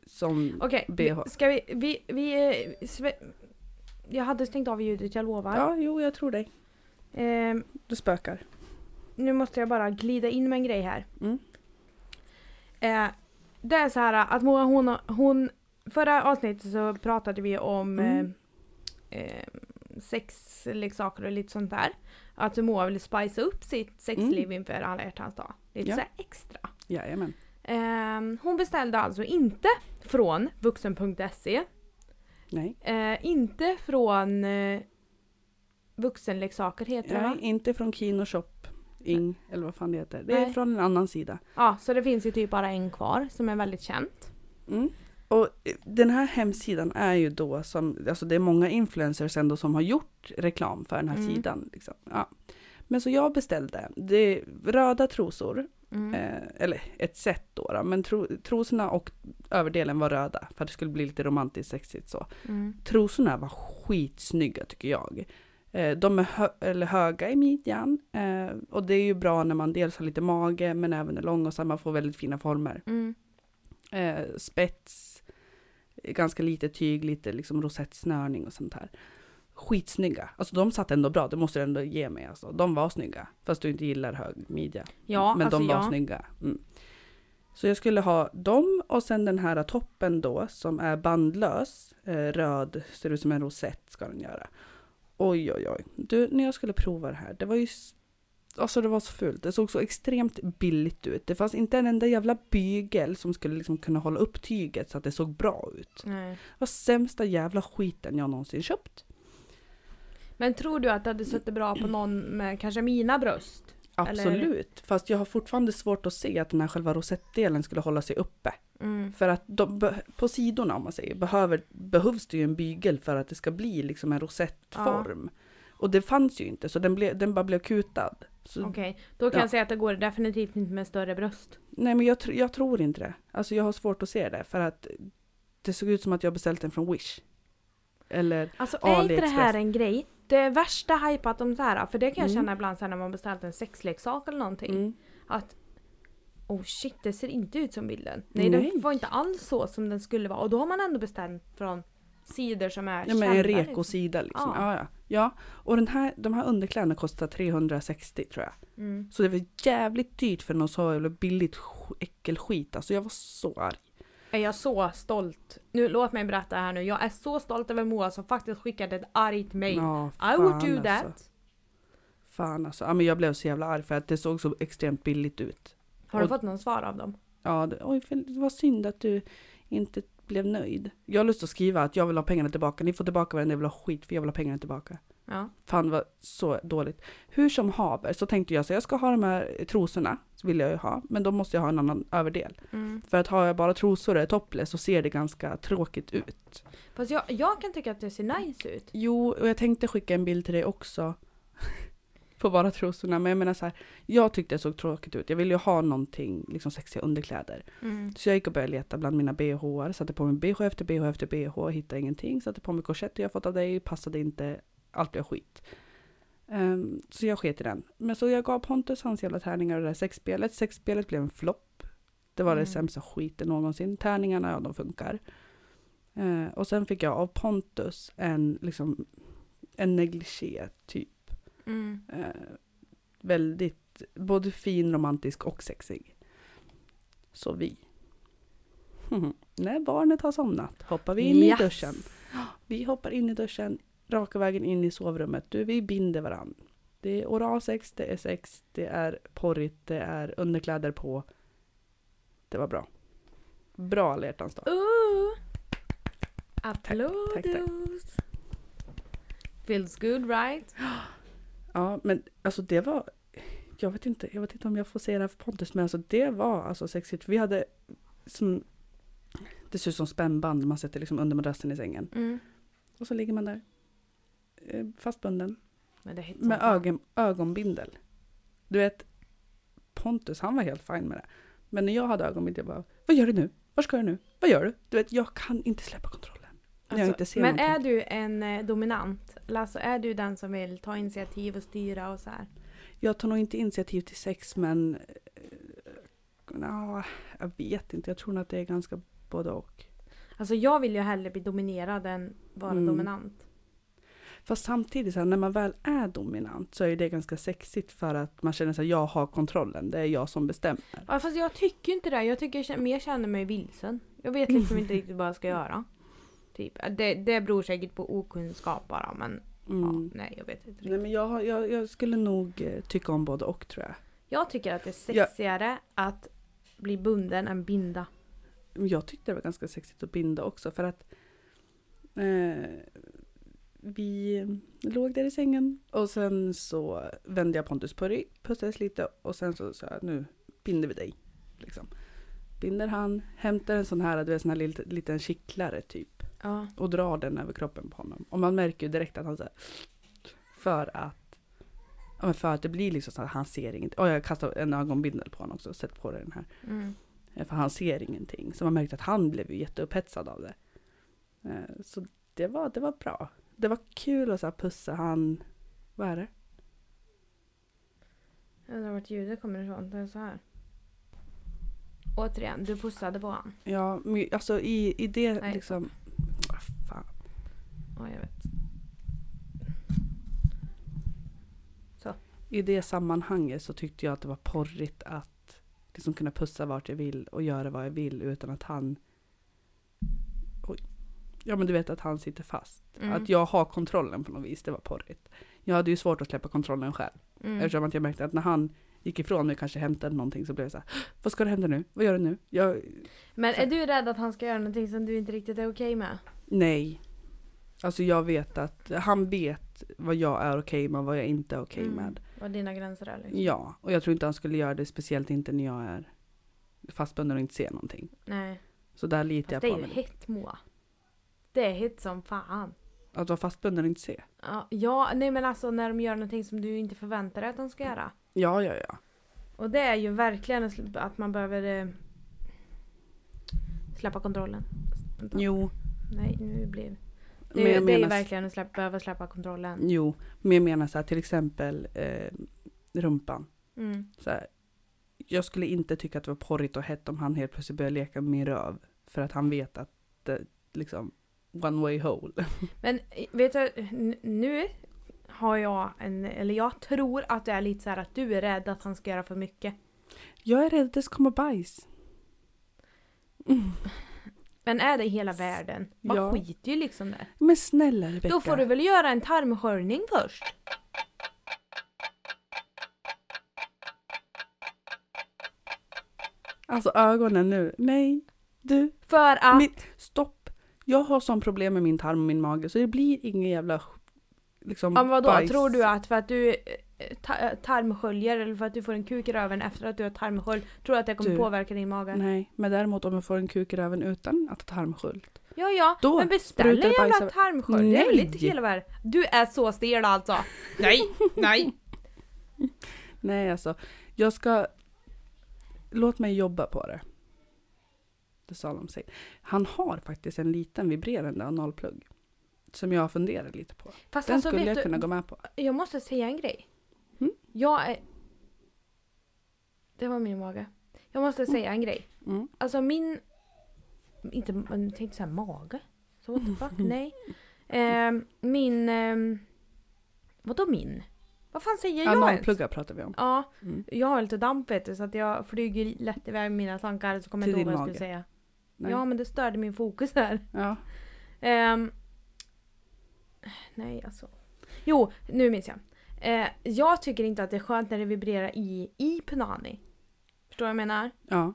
[SPEAKER 2] Som,
[SPEAKER 1] Okej,
[SPEAKER 2] BH.
[SPEAKER 1] vi- ska vi... vi, vi eh, sve- jag hade stängt av ljudet, jag lovar.
[SPEAKER 2] ja, jo, jag tror dig.
[SPEAKER 1] Ehm,
[SPEAKER 2] Du spökar.
[SPEAKER 1] nu måste jag bara glida in med en grej här.
[SPEAKER 2] Mm.
[SPEAKER 1] Eh, det är så här att Moa hon, hon... Förra avsnittet så pratade vi om
[SPEAKER 2] Mm.
[SPEAKER 1] eh, eh, sexleksaker och lite sånt där. Att Moa vill spicea upp sitt sexliv inför alla hjärtans dag. Lite
[SPEAKER 2] Mm. Ja.
[SPEAKER 1] så här extra.
[SPEAKER 2] Jajamän.
[SPEAKER 1] Ehm, hon beställde alltså inte från vuxen.se.
[SPEAKER 2] Nej.
[SPEAKER 1] Eh, inte från eh, vuxenleksaker heter det va?
[SPEAKER 2] Nej, inte från Kinoshop. Ing, eller vad fan det heter. Det är
[SPEAKER 1] Nej.
[SPEAKER 2] från en annan sida.
[SPEAKER 1] Ja, så det finns ju typ bara en kvar som är väldigt känt.
[SPEAKER 2] Mm. Och eh, den här hemsidan är ju då som, alltså det är många influencers ändå som har gjort reklam för den här
[SPEAKER 1] Mm.
[SPEAKER 2] sidan. Liksom. Ja. Men så jag beställde, det är röda trosor,
[SPEAKER 1] Mm.
[SPEAKER 2] eh, eller ett set då, då men tro, trosorna och överdelen var röda för att det skulle bli lite romantiskt sexigt så.
[SPEAKER 1] Mm.
[SPEAKER 2] Trosorna var skitsnygga tycker jag. Eh, De är hö- eller höga i midjan eh, och det är ju bra när man dels har lite mage men även är lång och så här, man får väldigt fina former.
[SPEAKER 1] Mm.
[SPEAKER 2] Eh, Spets, eh, ganska lite tyg, lite liksom rosettsnörning och sånt här. Skitsnygga. Alltså de satt ändå bra, det måste du ändå ge mig alltså. De var snygga, fast du inte gillar hög midja.
[SPEAKER 1] Ja,
[SPEAKER 2] men
[SPEAKER 1] alltså
[SPEAKER 2] de var
[SPEAKER 1] ja.
[SPEAKER 2] snygga. Mm. Så jag skulle ha dem och sen den här toppen då som är bandlös, eh, röd, ser ut som en rosett ska den göra. Oj oj oj. Du, när jag skulle prova det här, det var ju s- Alltså det var så fult. Det såg så extremt billigt ut. Det fanns inte en enda jävla bygel som skulle liksom kunna hålla upp tyget så att det såg bra ut.
[SPEAKER 1] Nej.
[SPEAKER 2] Det var sämsta jävla skiten jag någonsin köpt.
[SPEAKER 1] Men tror du att det hade suttit bra på någon med kanske mina bröst?
[SPEAKER 2] Absolut. Fast jag har fortfarande svårt att se att den här själva rosettdelen skulle hålla sig uppe.
[SPEAKER 1] Mm.
[SPEAKER 2] För att de, be- på sidorna om man säger behöver, behövs det ju en bygel för att det ska bli liksom en rosettform. Och det fanns ju inte så den, blev den bara blev kutad. Så,
[SPEAKER 1] Okej, då kan
[SPEAKER 2] Ja.
[SPEAKER 1] jag säga att det går definitivt inte med större bröst.
[SPEAKER 2] Nej men jag, tr- jag tror inte det. Alltså jag har svårt att se det för att det såg ut som att jag beställt den från Wish. Eller
[SPEAKER 1] Alltså är inte det
[SPEAKER 2] AliExpress.
[SPEAKER 1] här en grej? Det är värsta hypat om det här, för det kan jag
[SPEAKER 2] Mm.
[SPEAKER 1] känna ibland sen när man beställt en sexleksak eller någonting.
[SPEAKER 2] mm,
[SPEAKER 1] Att oh shit, det ser inte ut som bilden. Nej,
[SPEAKER 2] Nej.
[SPEAKER 1] den var inte alls så som den skulle vara. Och då har man ändå beställt från sidor som är
[SPEAKER 2] ja, men en
[SPEAKER 1] kända,
[SPEAKER 2] rekosida liksom.
[SPEAKER 1] Ja.
[SPEAKER 2] Ja. Ja, ja. Och den här, de här underkläderna kostar 360 tror jag.
[SPEAKER 1] liksom. Mm.
[SPEAKER 2] Så det var jävligt dyrt för någon så jävla billigt sk- äckelskit. Alltså jag var så arg.
[SPEAKER 1] Är jag så stolt? Nu, låt mig berätta här nu. Jag är så stolt över Moa som faktiskt skickade ett argt mail.
[SPEAKER 2] Ja,
[SPEAKER 1] I
[SPEAKER 2] fan,
[SPEAKER 1] would do that.
[SPEAKER 2] Alltså. Fan alltså. Ja, men jag blev så jävla arg för att det såg så extremt billigt ut.
[SPEAKER 1] Har du
[SPEAKER 2] Och-
[SPEAKER 1] fått någon svar av dem?
[SPEAKER 2] Ja, det, oj, för, det var synd att du inte blev nöjd. Jag har lust att skriva att jag vill ha pengarna tillbaka. Ni får tillbaka varenda jävla skit för jag vill ha pengarna tillbaka.
[SPEAKER 1] Ja.
[SPEAKER 2] Fan vad så dåligt. Hur som haver så tänkte jag så jag ska ha de här trosorna. Så vill jag ju ha. Men då måste jag ha en annan överdel.
[SPEAKER 1] Mm.
[SPEAKER 2] För att har jag bara trosor och är topless så ser det ganska tråkigt ut.
[SPEAKER 1] Fast jag, jag kan tycka att det ser nice ut.
[SPEAKER 2] Jo, och jag tänkte skicka en bild till dig också. på bara trosorna. Men jag menar så här, jag tyckte det såg tråkigt ut. Jag ville ju ha någonting, liksom sexiga underkläder.
[SPEAKER 1] Mm.
[SPEAKER 2] Så jag gick och började leta bland mina bhar. Satte på mig bh efter bh efter bh. Hittade ingenting. Satte på mig korsetter jag fått av dig. Passade inte. Allt blev skit. Ehm, så jag sket i den. Men så jag gav Pontus hans jävla tärningar och det där sexspelet. Sexspelet blev en flopp. Det var
[SPEAKER 1] Mm.
[SPEAKER 2] det sämsta skiten någonsin. Tärningarna, ja de funkar. Eh, och sen fick jag av Pontus en, liksom, en negligé typ.
[SPEAKER 1] Mm.
[SPEAKER 2] Eh, väldigt, både fin, romantisk och sexig. Så vi. När barnet har somnat hoppar vi in
[SPEAKER 1] Yes.
[SPEAKER 2] i duschen. Vi hoppar in i duschen, raka vägen in i sovrummet. Du, vi binder varandra. Det är oralsex, det är sex, det är porrigt, det är underkläder på. Det var bra. Bra alla hjärtans dag.
[SPEAKER 1] Ooh.
[SPEAKER 2] tack.
[SPEAKER 1] Applådos! Feels good right?
[SPEAKER 2] Ja, men alltså det var... Jag vet inte, jag vet inte om jag får säga det här för Pontus, men alltså det var alltså sexigt. Vi hade som... Det ser ut som spännband man sätter liksom under madrassen i sängen.
[SPEAKER 1] Mm.
[SPEAKER 2] Och så ligger man där. eh, Fastbunden.
[SPEAKER 1] Men det är hett som
[SPEAKER 2] Med
[SPEAKER 1] fan.
[SPEAKER 2] ögon, ögonbindel. Du vet, Pontus han var helt fin med det. Men när jag hade ögonbindel, jag bara, vad gör du nu? Vad ska du nu? Vad gör du? Du vet, jag kan inte släppa kontrollen. När jag
[SPEAKER 1] Alltså,
[SPEAKER 2] inte ser
[SPEAKER 1] men
[SPEAKER 2] någonting.
[SPEAKER 1] är du en eh, dominant? Eller Alltså är du den som vill ta initiativ och styra och så här?
[SPEAKER 2] Jag tar nog inte initiativ till sex men eh, nja, jag vet inte. Jag tror nog att det är ganska både och.
[SPEAKER 1] Alltså jag vill ju hellre bli dominerad än vara
[SPEAKER 2] Mm.
[SPEAKER 1] dominant.
[SPEAKER 2] Fast samtidigt så här, när man väl är dominant så är det ganska sexigt för att man känner sig jag har kontrollen. Det är jag som bestämmer.
[SPEAKER 1] Ja, fast jag tycker inte det. Jag tycker jag känner- mer känner mig vilsen. Jag vet liksom inte riktigt vad jag ska göra. Typ. Det, det beror säkert på okunskap bara men
[SPEAKER 2] Mm.
[SPEAKER 1] Ja, nej jag vet inte.
[SPEAKER 2] Nej men jag, har- jag, jag skulle nog eh, tycka om både och tror jag.
[SPEAKER 1] Jag tycker att det är
[SPEAKER 2] Ja.
[SPEAKER 1] sexigare att bli bunden än binda.
[SPEAKER 2] Men Jag tyckte det var ganska sexigt att binda också för att eh, vi låg där i sängen och sen så vände jag Pontus på rygg, pussades lite och sen så sa jag nu binder vi dig. Liksom. Binder han, hämtar en sån här, du vet, sån här liten, liten kittlare typ
[SPEAKER 1] Ja.
[SPEAKER 2] och drar den över kroppen på honom. Och man märker ju direkt att han så här, för att ja, men för att det blir liksom så att han ser inget. Och jag kastar en ögonbindel på honom också och sätter på dig den här.
[SPEAKER 1] Mm.
[SPEAKER 2] Eh, För han ser ingenting. Så man märkte att han blev ju jätteupphetsad av det. Eh, Så det var, det var bra. Det var kul att så här pussa han. Vad är det?
[SPEAKER 1] Jag undrar vart ljudet kommer ifrån. Det är så här. Återigen, du pussade på honom.
[SPEAKER 2] Ja, men alltså i, i det
[SPEAKER 1] Nej.
[SPEAKER 2] liksom. Ah, Fan.
[SPEAKER 1] Ja, jag vet.
[SPEAKER 2] I det sammanhanget så tyckte jag att det var porrigt att liksom kunna pussa vart jag vill och göra vad jag vill utan att han... Oj. Ja men du vet att han sitter fast.
[SPEAKER 1] Mm.
[SPEAKER 2] Att jag har kontrollen på något vis, det var porrigt. Jag hade ju svårt att släppa kontrollen själv.
[SPEAKER 1] Mm.
[SPEAKER 2] Eftersom att jag märkte att när han gick ifrån mig och kanske hämtade någonting så blev jag så här, vad ska du hämta nu? Vad gör du nu? Jag,
[SPEAKER 1] Men är du rädd att han ska göra någonting som du inte riktigt är okej med?
[SPEAKER 2] nej. Alltså jag vet att, han vet vad jag är okej med och vad jag inte är okej
[SPEAKER 1] Mm.
[SPEAKER 2] med.
[SPEAKER 1] Vad dina gränser är liksom?
[SPEAKER 2] Ja, och jag tror inte han skulle göra det, speciellt inte när jag är fastbunden och inte ser någonting.
[SPEAKER 1] Nej.
[SPEAKER 2] Så där litar
[SPEAKER 1] Fast
[SPEAKER 2] jag
[SPEAKER 1] det
[SPEAKER 2] på
[SPEAKER 1] är ju
[SPEAKER 2] honom.
[SPEAKER 1] hett Moa. Det är hett som fan.
[SPEAKER 2] Att vara fastbunden och inte se.
[SPEAKER 1] Ja, Ja, nej men alltså när de gör någonting som du inte förväntar dig att de ska göra.
[SPEAKER 2] Ja, ja, ja.
[SPEAKER 1] Och det är ju verkligen sl- att man behöver eh, släppa kontrollen. Vänta.
[SPEAKER 2] Jo,
[SPEAKER 1] Nej, nu blir det.
[SPEAKER 2] men
[SPEAKER 1] är
[SPEAKER 2] jag
[SPEAKER 1] ju- Det är ju
[SPEAKER 2] menar-
[SPEAKER 1] verkligen att släppa, behöva släppa kontrollen.
[SPEAKER 2] jo. Men jag menar så här, till exempel eh, rumpan.
[SPEAKER 1] Mm.
[SPEAKER 2] så här, jag skulle inte tycka att det var porrigt och hett om han helt plötsligt började leka med min röv. För att han vet att det liksom one way hole.
[SPEAKER 1] Men eh, vet du, n- nu har jag en, eller jag tror att det är lite så här att du är rädd att han ska göra för mycket.
[SPEAKER 2] Jag är rädd att det ska komma bajs. Mm.
[SPEAKER 1] Men är det i hela världen? Man
[SPEAKER 2] Ja.
[SPEAKER 1] skiter ju liksom där.
[SPEAKER 2] Men snälla Rebecka.
[SPEAKER 1] Då får du väl göra en tarmsköljning först?
[SPEAKER 2] Alltså ögonen nu. Nej. Du.
[SPEAKER 1] För att...
[SPEAKER 2] Mitt, stopp. Jag har sån problem med min tarm och min mage så det blir ingen jävla liksom
[SPEAKER 1] Ja men vadå,
[SPEAKER 2] bajs.
[SPEAKER 1] tror du att för att du eh, ta- tarmsköljer eller för att du får en kuk i röven efter att du har tarmskölj, tror du att det kommer
[SPEAKER 2] Du.
[SPEAKER 1] påverka din mage?
[SPEAKER 2] Nej, men däremot om jag får en kuk i röven utan att ha tarmsköld.
[SPEAKER 1] Ja ja,
[SPEAKER 2] Då
[SPEAKER 1] men beställ
[SPEAKER 2] sprutar
[SPEAKER 1] en
[SPEAKER 2] det bajs
[SPEAKER 1] jävla
[SPEAKER 2] över-
[SPEAKER 1] tarmskölj, det är väl
[SPEAKER 2] Nej.
[SPEAKER 1] inte hela världen? Du är så stel alltså! Nej, nej!
[SPEAKER 2] Nej alltså, jag ska... Låt mig jobba på det. Det sa de sig. Han har faktiskt en liten vibrerande analplugg. Som jag funderar lite på.
[SPEAKER 1] Fast
[SPEAKER 2] Den
[SPEAKER 1] alltså
[SPEAKER 2] skulle
[SPEAKER 1] vet
[SPEAKER 2] jag
[SPEAKER 1] du,
[SPEAKER 2] kunna gå med på.
[SPEAKER 1] jag måste säga en grej.
[SPEAKER 2] Mm.
[SPEAKER 1] Jag är... Det var min mage. Jag måste säga en grej.
[SPEAKER 2] Mm.
[SPEAKER 1] Alltså min... Inte, jag tänkte säga mage. Så what the fuck, nej. Ehm, min... ehm, vadå min? Vad fan säger jag ens?
[SPEAKER 2] Analpluggar pratar vi om.
[SPEAKER 1] Ja,
[SPEAKER 2] Mm.
[SPEAKER 1] jag har lite damp vet du, så att jag flyger lätt iväg med mina tankar så kommer jag
[SPEAKER 2] Till
[SPEAKER 1] inte ihåg vad
[SPEAKER 2] din
[SPEAKER 1] jag skulle
[SPEAKER 2] mage.
[SPEAKER 1] säga.
[SPEAKER 2] Nej.
[SPEAKER 1] Ja men det störde min fokus här.
[SPEAKER 2] Ja.
[SPEAKER 1] Ehm, nej alltså. Jo, nu minns jag. Eh, jag tycker inte att det är skönt när det vibrerar i, i punani. Förstår vad jag menar?
[SPEAKER 2] ja.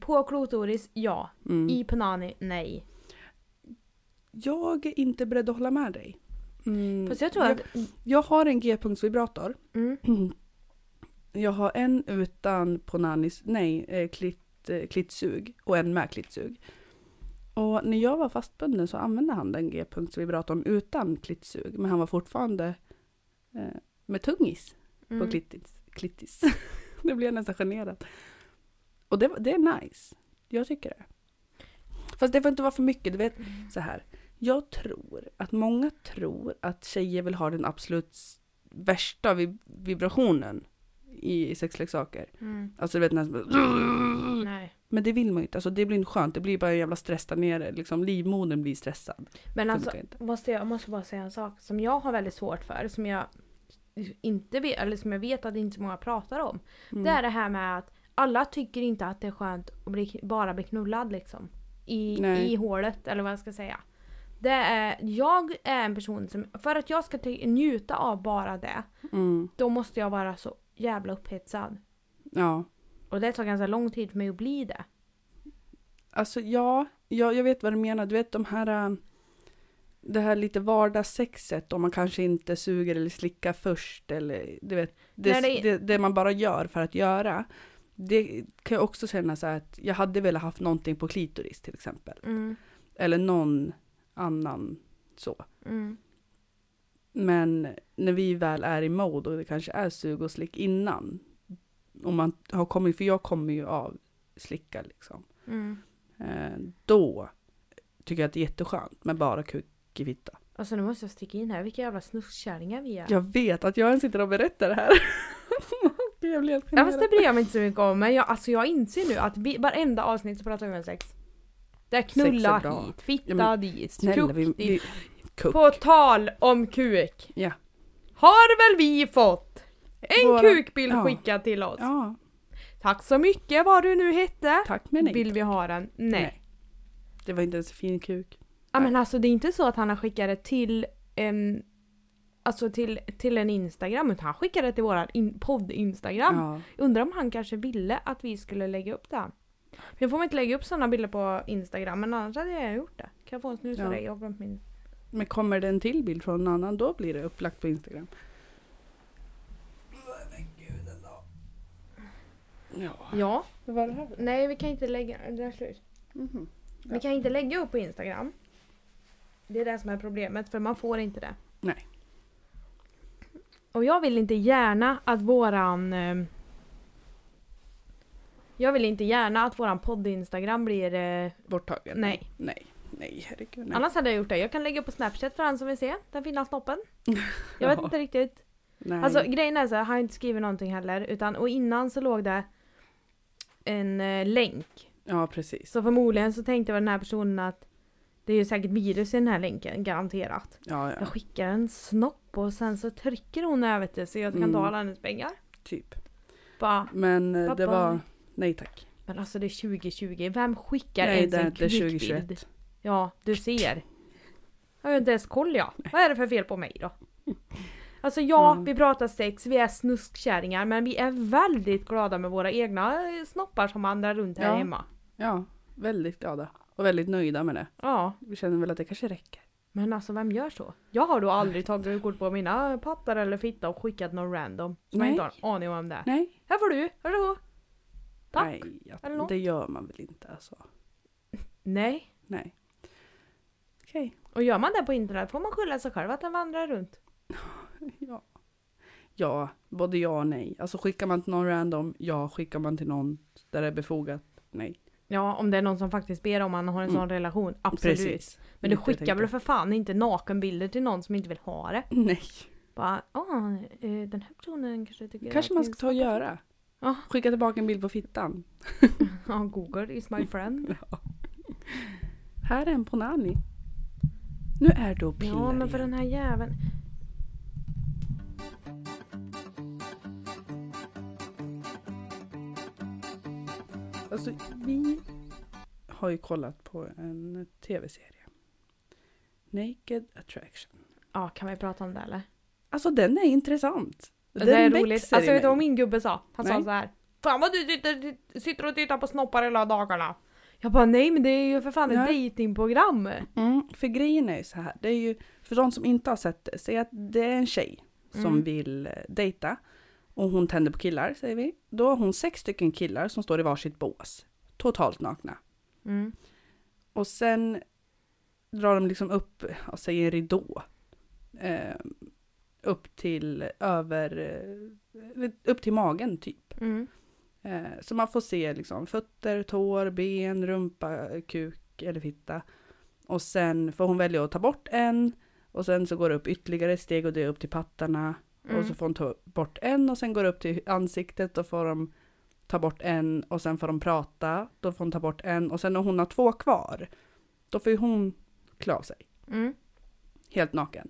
[SPEAKER 1] På klotoris, ja.
[SPEAKER 2] Mm.
[SPEAKER 1] I punani, nej.
[SPEAKER 2] Jag är inte beredd att hålla med dig. Mm.
[SPEAKER 1] Fast jag tror
[SPEAKER 2] jag,
[SPEAKER 1] att...
[SPEAKER 2] jag har en g-punktsvibrator.
[SPEAKER 1] Mm,
[SPEAKER 2] Jag har en utan på nannis, nej, eh, klitt, eh, klittsug och en med klittsug. Och när jag var fastbunden så använde han den g-punktsvibratorn utan klittsug, men han var fortfarande eh, med tungis
[SPEAKER 1] mm.
[SPEAKER 2] på klittis. klittis. det blev jag nästan generad. Och det, var- det är nice. Jag tycker det. Fast det får inte vara för mycket, du vet
[SPEAKER 1] Mm.
[SPEAKER 2] så här. Jag tror att många tror att tjejer vill ha den absolut s- värsta vib- vibrationen i sexleksaker.
[SPEAKER 1] Mm,
[SPEAKER 2] Alltså du vet nästan
[SPEAKER 1] nej.
[SPEAKER 2] Men det vill man ju inte, alltså det blir inte skönt, det blir bara en jävla stress där nere, liksom livmodern blir stressad.
[SPEAKER 1] Men alltså,
[SPEAKER 2] Funkar inte.
[SPEAKER 1] måste jag, jag måste bara säga en sak som jag har väldigt svårt för, som jag inte vet, eller som jag vet att inte så många pratar om.
[SPEAKER 2] Mm.
[SPEAKER 1] Det är det här med att alla tycker inte att det är skönt att bli, bara bli knullad liksom. I,
[SPEAKER 2] Nej.
[SPEAKER 1] I hålet eller vad jag ska säga. Det är, jag är en person som, för att jag ska ty- njuta av bara det,
[SPEAKER 2] Mm.
[SPEAKER 1] då måste jag vara så jävla upphetsad.
[SPEAKER 2] Ja.
[SPEAKER 1] Och det tar ganska lång tid för mig att bli det.
[SPEAKER 2] Alltså ja, jag, jag vet vad du menar. Du vet de här, äh, det här lite vardagssexet om man kanske inte suger eller slickar först eller du vet, det,
[SPEAKER 1] Nej,
[SPEAKER 2] det...
[SPEAKER 1] det-
[SPEAKER 2] Det, man bara gör för att göra. Det kan jag också känna så här att jag hade velat haft någonting på klitoris till exempel.
[SPEAKER 1] Mm,
[SPEAKER 2] Eller någon annan så.
[SPEAKER 1] mm,
[SPEAKER 2] Men när vi väl är i mode och det kanske är sug och slick innan. Om man har kommit, för jag kommer ju av slicka liksom.
[SPEAKER 1] mm.
[SPEAKER 2] Eh, då tycker jag att det är jätteskönt med bara kuk i fitta.
[SPEAKER 1] Alltså nu måste jag sticka in här, vilka jävla snuskkärringar vi är.
[SPEAKER 2] Jag vet att jag ens sitter och berättar det här. Gud, jag blir helt
[SPEAKER 1] Ja fast
[SPEAKER 2] generad.
[SPEAKER 1] det bryr jag mig inte så mycket om men jag, alltså jag inser nu att vi, varenda avsnitt så pratar vi om sex. Det är knulla
[SPEAKER 2] Sex är bra.
[SPEAKER 1] hit, fitta
[SPEAKER 2] Ja, men
[SPEAKER 1] dit,
[SPEAKER 2] Snälla,
[SPEAKER 1] kuk
[SPEAKER 2] vi,
[SPEAKER 1] dit.
[SPEAKER 2] vi, kuk.
[SPEAKER 1] På tal om kuk.
[SPEAKER 2] Ja.
[SPEAKER 1] Har väl vi fått en
[SPEAKER 2] Våra-
[SPEAKER 1] kukbild
[SPEAKER 2] ja.
[SPEAKER 1] skickad till oss.
[SPEAKER 2] Ja,
[SPEAKER 1] Tack så mycket vad du nu hette.
[SPEAKER 2] tack men nej.
[SPEAKER 1] Vill vi ha den? Nej.
[SPEAKER 2] Nej. Det var inte ens en fin kuk.
[SPEAKER 1] Ja,
[SPEAKER 2] Nej.
[SPEAKER 1] men alltså det är inte så att han har skickat det till en Alltså till, till en Instagram, utan han skickade det till våran in, podd-Instagram.
[SPEAKER 2] Ja.
[SPEAKER 1] Undrar om han kanske ville att vi skulle lägga upp det. Men får man inte lägga upp sådana bilder på Instagram, men annars hade jag gjort det. Kan jag få en snus av
[SPEAKER 2] Ja.
[SPEAKER 1] dig? Jag har glömt min.
[SPEAKER 2] Men kommer det en till bild från någon annan, då blir det upplagt på Instagram. Men gud ändå. Ja,
[SPEAKER 1] Ja.
[SPEAKER 2] vad var det här?
[SPEAKER 1] Nej, vi kan inte lägga... Det är slut.
[SPEAKER 2] Mhm.
[SPEAKER 1] Vi
[SPEAKER 2] Ja.
[SPEAKER 1] kan inte lägga upp på Instagram. Det är det som är problemet, för man får inte det.
[SPEAKER 2] Nej.
[SPEAKER 1] Och jag vill inte gärna att våran... ehm, Jag vill inte gärna att våran podd-instagram blir... eh,
[SPEAKER 2] Borttagen?
[SPEAKER 1] Nej.
[SPEAKER 2] Nej, nej, herregud. Nej.
[SPEAKER 1] Annars hade jag gjort det. Jag kan lägga upp på Snapchat för han som vill se den fina snoppen. Jag vet
[SPEAKER 2] Ja.
[SPEAKER 1] inte riktigt.
[SPEAKER 2] nej.
[SPEAKER 1] Alltså grejen är så här, han har inte skrivit någonting heller. Utan, och innan så låg det en eh, länk.
[SPEAKER 2] ja, precis.
[SPEAKER 1] Så förmodligen så tänkte väl den här personen att det är ju säkert virus i den här länken, garanterat.
[SPEAKER 2] Ja, ja,
[SPEAKER 1] Jag skickar en snopp och sen så trycker hon över det så jag kan
[SPEAKER 2] Mm.
[SPEAKER 1] ta alla hennes pengar.
[SPEAKER 2] typ.
[SPEAKER 1] Bara,
[SPEAKER 2] Men eh,
[SPEAKER 1] Pappa.
[SPEAKER 2] det var... Nej tack.
[SPEAKER 1] men alltså det är 2020, vem skickar
[SPEAKER 2] Nej,
[SPEAKER 1] ens
[SPEAKER 2] det är
[SPEAKER 1] en
[SPEAKER 2] inte
[SPEAKER 1] klickbild?
[SPEAKER 2] 2021.
[SPEAKER 1] Ja, du ser. Jag har ju inte ens koll jag. Vad är det för fel på mig då? Alltså ja,
[SPEAKER 2] Mm.
[SPEAKER 1] vi pratar sex, vi är snuskkärringar men vi är väldigt glada med våra egna eh, snoppar som vandrar runt här
[SPEAKER 2] Ja.
[SPEAKER 1] hemma.
[SPEAKER 2] Ja, väldigt glada. Och väldigt nöjda med det.
[SPEAKER 1] Ja,
[SPEAKER 2] Vi känner väl att det kanske räcker.
[SPEAKER 1] men alltså vem gör så? Jag har då aldrig tagit kort på mina pattar eller fitta och skickat någon random. Som jag
[SPEAKER 2] Nej.
[SPEAKER 1] inte har en aning om det är.
[SPEAKER 2] Nej.
[SPEAKER 1] Här får du, varsågod! Tack! Nej.
[SPEAKER 2] Nej, ja,
[SPEAKER 1] Eller något.
[SPEAKER 2] det gör man väl inte alltså.
[SPEAKER 1] Nej.
[SPEAKER 2] Nej. Okej.
[SPEAKER 1] Och gör man det på internet får man skylla sig själv att den vandrar runt.
[SPEAKER 2] Ja. ja, både ja och nej. Alltså skickar man till någon random, ja. Skickar man till någon där det är befogat, nej.
[SPEAKER 1] Ja, om det är någon som faktiskt ber om man har en sån
[SPEAKER 2] Mm.
[SPEAKER 1] relation, absolut. Men du
[SPEAKER 2] Lite jag
[SPEAKER 1] skickar väl
[SPEAKER 2] tänkte.
[SPEAKER 1] för fan inte nakenbilder till någon som inte vill ha det?
[SPEAKER 2] Nej.
[SPEAKER 1] Bara, ah, eh, den här personen kanske tycker
[SPEAKER 2] Kanske
[SPEAKER 1] att
[SPEAKER 2] man
[SPEAKER 1] det är
[SPEAKER 2] ska ta och göra.
[SPEAKER 1] Ja.
[SPEAKER 2] Skicka tillbaka en bild på fittan.
[SPEAKER 1] så- Ja, Google is my friend.
[SPEAKER 2] Här är en på Nanny. Nu är du och pillar
[SPEAKER 1] ja, men för
[SPEAKER 2] igen.
[SPEAKER 1] den här jäveln.
[SPEAKER 2] Alltså, vi har ju kollat på en tv-serie. Naked Attraction.
[SPEAKER 1] Ja, kan vi prata om det eller?
[SPEAKER 2] Alltså den är intressant. Den
[SPEAKER 1] det är
[SPEAKER 2] växer
[SPEAKER 1] roligt.
[SPEAKER 2] i
[SPEAKER 1] Alltså vet du
[SPEAKER 2] mig.
[SPEAKER 1] vad min gubbe sa? Han sa
[SPEAKER 2] Nej.
[SPEAKER 1] så här. Fan vad du sitter, sitter och tittar på snoppar hela dagarna. Jag bara nej men det är ju för fan ett
[SPEAKER 2] Nej.
[SPEAKER 1] dejtingprogram.
[SPEAKER 2] Mm, för grejen är ju så här, det är ju, för de som inte har sett det, säg att det är en tjej som
[SPEAKER 1] Mm.
[SPEAKER 2] vill eh, dejta och hon tänder på killar, säger vi. Då har hon sex stycken killar som står i varsitt bås, totalt nakna.
[SPEAKER 1] Mm.
[SPEAKER 2] Och sen drar de liksom upp, ja, säg en ridå, eh, upp till över, eh, upp till magen typ.
[SPEAKER 1] Mm.
[SPEAKER 2] Eh, så man får se liksom fötter, tår, ben, rumpa, kuk eller fitta. Och sen får hon välja att ta bort en och sen så går det upp ytterligare ett steg och det är upp till pattarna.
[SPEAKER 1] Mm.
[SPEAKER 2] Och så får hon ta bort en och sen går det upp till ansiktet och får de ta bort en och sen får de prata. Då får hon ta bort en och sen när hon har två kvar då får ju hon klä av sig
[SPEAKER 1] Mm.
[SPEAKER 2] helt naken.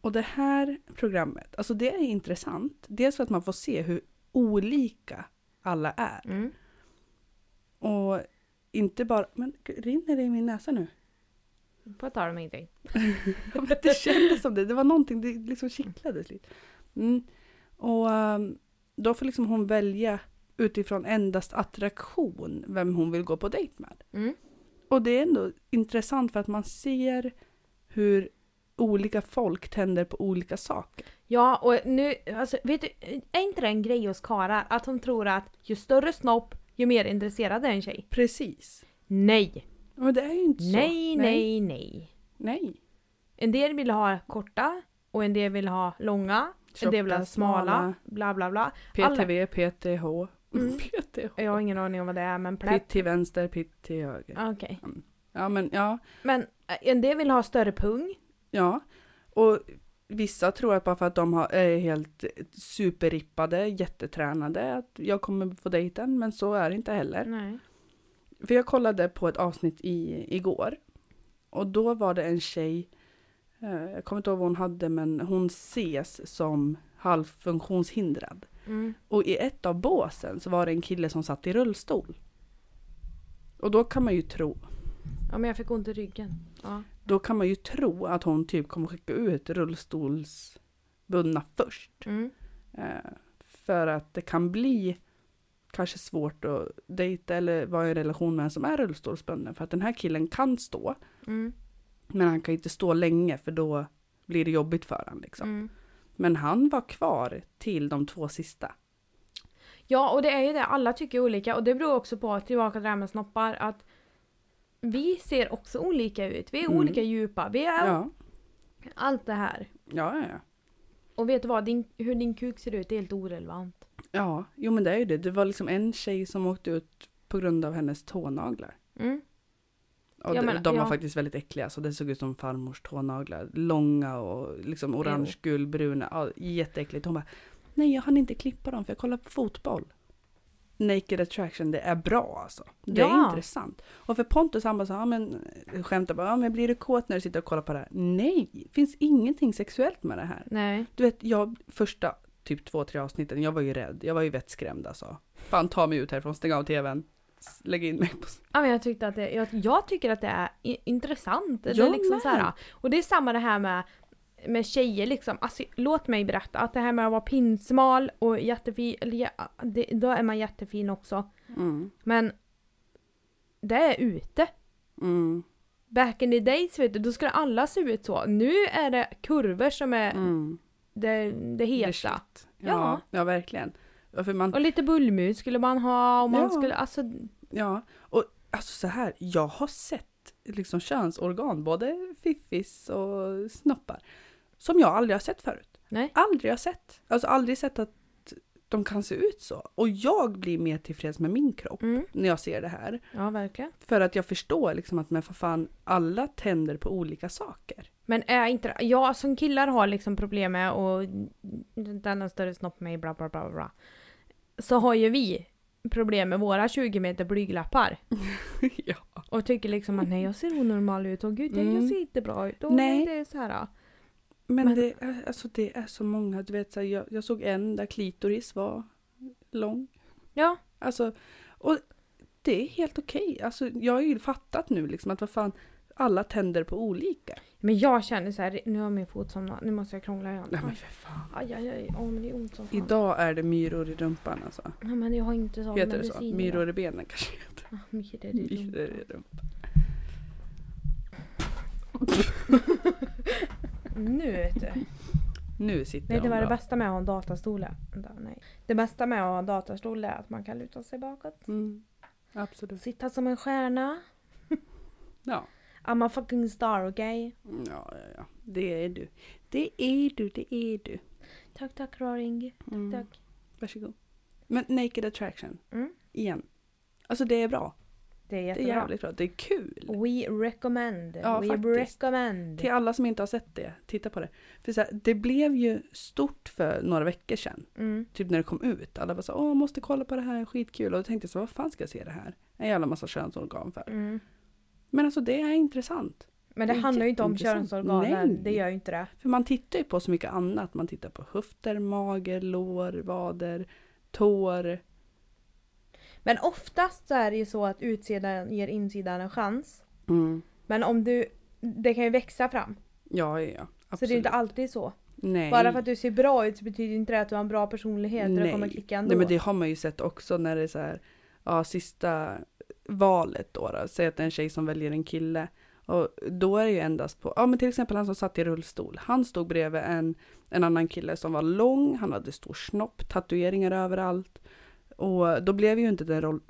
[SPEAKER 2] Och det här programmet, alltså det är intressant. Dels för att man får se hur olika alla är.
[SPEAKER 1] Mm.
[SPEAKER 2] Och inte bara, men gud, rinner det i min näsa nu?
[SPEAKER 1] På ett tag om ingenting.
[SPEAKER 2] Ja, men det kändes som det. Det var någonting, det liksom kittlades lite. Mm. Och ehm, då får liksom hon välja utifrån endast attraktion vem hon vill gå på dejt med.
[SPEAKER 1] Mm.
[SPEAKER 2] Och det är ändå intressant för att man ser hur olika folk tänder på olika saker.
[SPEAKER 1] Ja, och nu, alltså, vet du, är inte det en grej hos karlar? Att de tror att ju större snopp, ju mer intresserad är en tjej.
[SPEAKER 2] Precis.
[SPEAKER 1] Nej!
[SPEAKER 2] Men det är ju inte så.
[SPEAKER 1] Nej, nej, nej.
[SPEAKER 2] Nej.
[SPEAKER 1] En del vill ha korta, och en del vill ha långa, en del vill ha smala, bla bla bla.
[SPEAKER 2] PTV, PTH.
[SPEAKER 1] Mm.
[SPEAKER 2] PTH.
[SPEAKER 1] Jag har ingen aning om vad det är, men plätt.
[SPEAKER 2] Pitt till vänster, pitt till höger.
[SPEAKER 1] Okej.
[SPEAKER 2] Ja men ja.
[SPEAKER 1] Men eh, en del vill ha större pung.
[SPEAKER 2] Ja, och vissa tror att bara för att de har, är helt superrippade, jättetränade, att jag kommer få dejten, men så är det inte heller.
[SPEAKER 1] Nej.
[SPEAKER 2] För jag kollade på ett avsnitt i, igår och då var det en tjej, eh, jag kommer inte ihåg vad hon hade, men hon ses som halvfunktionshindrad.
[SPEAKER 1] Mm.
[SPEAKER 2] Och i ett av båsen så var det en kille som satt i rullstol. Och då kan man ju tro,
[SPEAKER 1] Ja, men jag fick ont i ryggen. Ja.
[SPEAKER 2] då kan man ju tro att hon typ kommer skicka ut rullstolsbundna först.
[SPEAKER 1] Mm.
[SPEAKER 2] Eh, För att det kan bli kanske svårt att dejta eller vara i en relation med en som är rullstolsbunden. För att den här killen kan stå,
[SPEAKER 1] Mm.
[SPEAKER 2] men han kan inte stå länge för då blir det jobbigt för honom. Liksom.
[SPEAKER 1] Mm.
[SPEAKER 2] Men han var kvar till de två sista.
[SPEAKER 1] Ja, och det är ju det. Alla tycker olika och det beror också på, tillbaka till det här med snoppar, att vi ser också olika ut. Vi är
[SPEAKER 2] Mm.
[SPEAKER 1] olika djupa. Vi är
[SPEAKER 2] Ja,
[SPEAKER 1] allt det här.
[SPEAKER 2] ja, ja. ja.
[SPEAKER 1] Och vet du vad? Din, hur din kuk ser ut är helt orelevant.
[SPEAKER 2] Ja, jo men det är ju det. Det var liksom en tjej som åkte ut på grund av hennes tånaglar.
[SPEAKER 1] Mm.
[SPEAKER 2] Och
[SPEAKER 1] Ja,
[SPEAKER 2] de-
[SPEAKER 1] men-
[SPEAKER 2] de var
[SPEAKER 1] ja.
[SPEAKER 2] faktiskt väldigt äckliga, så det såg ut som farmors tånaglar. Långa och liksom orange, gulbruna. Ja, jätteäckligt. Hon bara, nej jag hann inte klippa dem för jag kollar på fotboll. Naked attraction, det är bra alltså. Det
[SPEAKER 1] Ja.
[SPEAKER 2] är intressant. Och för Pontus han bara så, ja men eh, skämtar bara, ja men blir du kåt när du sitter och kollar på det här? Nej, det finns ingenting sexuellt med det här.
[SPEAKER 1] Nej.
[SPEAKER 2] Du vet, jag första typ två, tre avsnitten, jag var ju rädd. Jag var ju vettskrämd alltså. Fan ta mig ut härifrån, stäng av tvn. S- Lägg in mig på...
[SPEAKER 1] Ja, men jag, tyckte att det, jag, jag tycker att det är i, intressant. Det är
[SPEAKER 2] Jag
[SPEAKER 1] liksom
[SPEAKER 2] med.
[SPEAKER 1] så här, och det är samma det här med, med tjejer liksom. Alltså, låt mig berätta att det här med att vara pinsmal och jättefin, eller ja, det, då är man jättefin också.
[SPEAKER 2] Mm.
[SPEAKER 1] Men det är ute.
[SPEAKER 2] Mm.
[SPEAKER 1] Back in the days vet du, då skulle alla se ut så. Nu är det kurvor som är
[SPEAKER 2] Mm.
[SPEAKER 1] det, det
[SPEAKER 2] Det är
[SPEAKER 1] heta.
[SPEAKER 2] shit.
[SPEAKER 1] Ja.
[SPEAKER 2] Ja, ja verkligen. Ja, För man,
[SPEAKER 1] och lite bullmus skulle man ha och man
[SPEAKER 2] Ja.
[SPEAKER 1] skulle, alltså
[SPEAKER 2] ja, och alltså så här, jag har sett liksom könsorgan, både fiffis och snoppar, som jag aldrig har sett förut.
[SPEAKER 1] Nej.
[SPEAKER 2] Aldrig har sett. Alltså aldrig sett att de kan se ut så. Och jag blir mer tillfreds med min kropp
[SPEAKER 1] mm.
[SPEAKER 2] när jag ser det här.
[SPEAKER 1] Ja verkligen.
[SPEAKER 2] För att jag förstår liksom att men för fan, alla tänder på olika saker.
[SPEAKER 1] Men är inte det- jag som killar har liksom problem med och den har större snopp än mig bla bla bla bla. Så har ju vi problem med våra 20 meter blyglappar.
[SPEAKER 2] ja.
[SPEAKER 1] Och tycker liksom att nej jag ser onormal ut och gud jag- jag
[SPEAKER 2] Mm.
[SPEAKER 1] ser inte bra ut. Och
[SPEAKER 2] Nej.
[SPEAKER 1] nej. Det är så här.
[SPEAKER 2] Men,
[SPEAKER 1] Men-
[SPEAKER 2] Det, är- alltså, det är så många, du vet så här, jag, jag såg en där klitoris var lång.
[SPEAKER 1] Ja.
[SPEAKER 2] Alltså, och det är helt okej. Alltså, jag har ju fattat nu liksom att vad fan, alla tänder på olika.
[SPEAKER 1] Men jag känner så här, nu har min fot somnat, nu måste jag krångla igen.
[SPEAKER 2] Nej men för fan.
[SPEAKER 1] Aj, aj, aj. Ja, men det är ont som fan.
[SPEAKER 2] Idag är det myror i rumpan alltså.
[SPEAKER 1] Ja, men jag har inte sån
[SPEAKER 2] Heter det
[SPEAKER 1] medicin
[SPEAKER 2] så?
[SPEAKER 1] idag. Ah,
[SPEAKER 2] Myror i benen kanske heter.
[SPEAKER 1] Ja, Myror i
[SPEAKER 2] Myror
[SPEAKER 1] rumpan.
[SPEAKER 2] i rumpan.
[SPEAKER 1] Nu vet du.
[SPEAKER 2] Nu sitter
[SPEAKER 1] Nej, det
[SPEAKER 2] hon
[SPEAKER 1] var det
[SPEAKER 2] bra.
[SPEAKER 1] bästa med att ha en datastol. här. Vänta, Nej. Det bästa med att ha en datastol är att man kan luta sig bakåt.
[SPEAKER 2] Mm. Absolut.
[SPEAKER 1] Sitta som en stjärna.
[SPEAKER 2] Ja.
[SPEAKER 1] I'm a fucking star, okej?
[SPEAKER 2] Ja, ja, ja. Det är du. Det är du, det är du.
[SPEAKER 1] Tack, tack Raring.
[SPEAKER 2] Mm.
[SPEAKER 1] Tack.
[SPEAKER 2] Varsågod. Men Naked Attraction,
[SPEAKER 1] Mm.
[SPEAKER 2] igen. Alltså det är bra.
[SPEAKER 1] Det är
[SPEAKER 2] Det är
[SPEAKER 1] jättebra.
[SPEAKER 2] jävligt bra. Det är kul.
[SPEAKER 1] We recommend.
[SPEAKER 2] Ja,
[SPEAKER 1] We
[SPEAKER 2] faktiskt.
[SPEAKER 1] recommend.
[SPEAKER 2] Till alla som inte har sett det, titta på det. För så här, det blev ju stort för några veckor sedan.
[SPEAKER 1] Mm.
[SPEAKER 2] Typ när det kom ut. Alla bara så åh måste kolla på det här, skitkul. Och då tänkte jag så vad fan ska jag se det här? En jävla massa könsorgan för.
[SPEAKER 1] Mm.
[SPEAKER 2] Men alltså det är intressant.
[SPEAKER 1] Men det
[SPEAKER 2] Det är
[SPEAKER 1] handlar ju inte om
[SPEAKER 2] jätteintressant. Nej.
[SPEAKER 1] könsorganen. Det gör ju inte det.
[SPEAKER 2] För man tittar ju på så mycket annat. Man tittar på höfter, mager, lår, vader, tår.
[SPEAKER 1] Men oftast så är det ju så att utsidan ger insidan en chans.
[SPEAKER 2] Mm.
[SPEAKER 1] Men om du det kan ju växa fram.
[SPEAKER 2] Ja, ja, ja. Absolut.
[SPEAKER 1] Så det är inte alltid så.
[SPEAKER 2] Nej.
[SPEAKER 1] Bara för att du ser bra ut så betyder inte det att du har en bra personlighet och
[SPEAKER 2] Nej.
[SPEAKER 1] du kommer klicka ändå.
[SPEAKER 2] Nej men det har man ju sett också när det är så här, ja sista valet då, då. Säg att det är en tjej som väljer en kille. Och då är det ju endast på, ja men till exempel han som satt i rullstol. Han stod bredvid en, en annan kille som var lång, han hade stor snopp, tatueringar överallt. Och då blev ju inte den roll,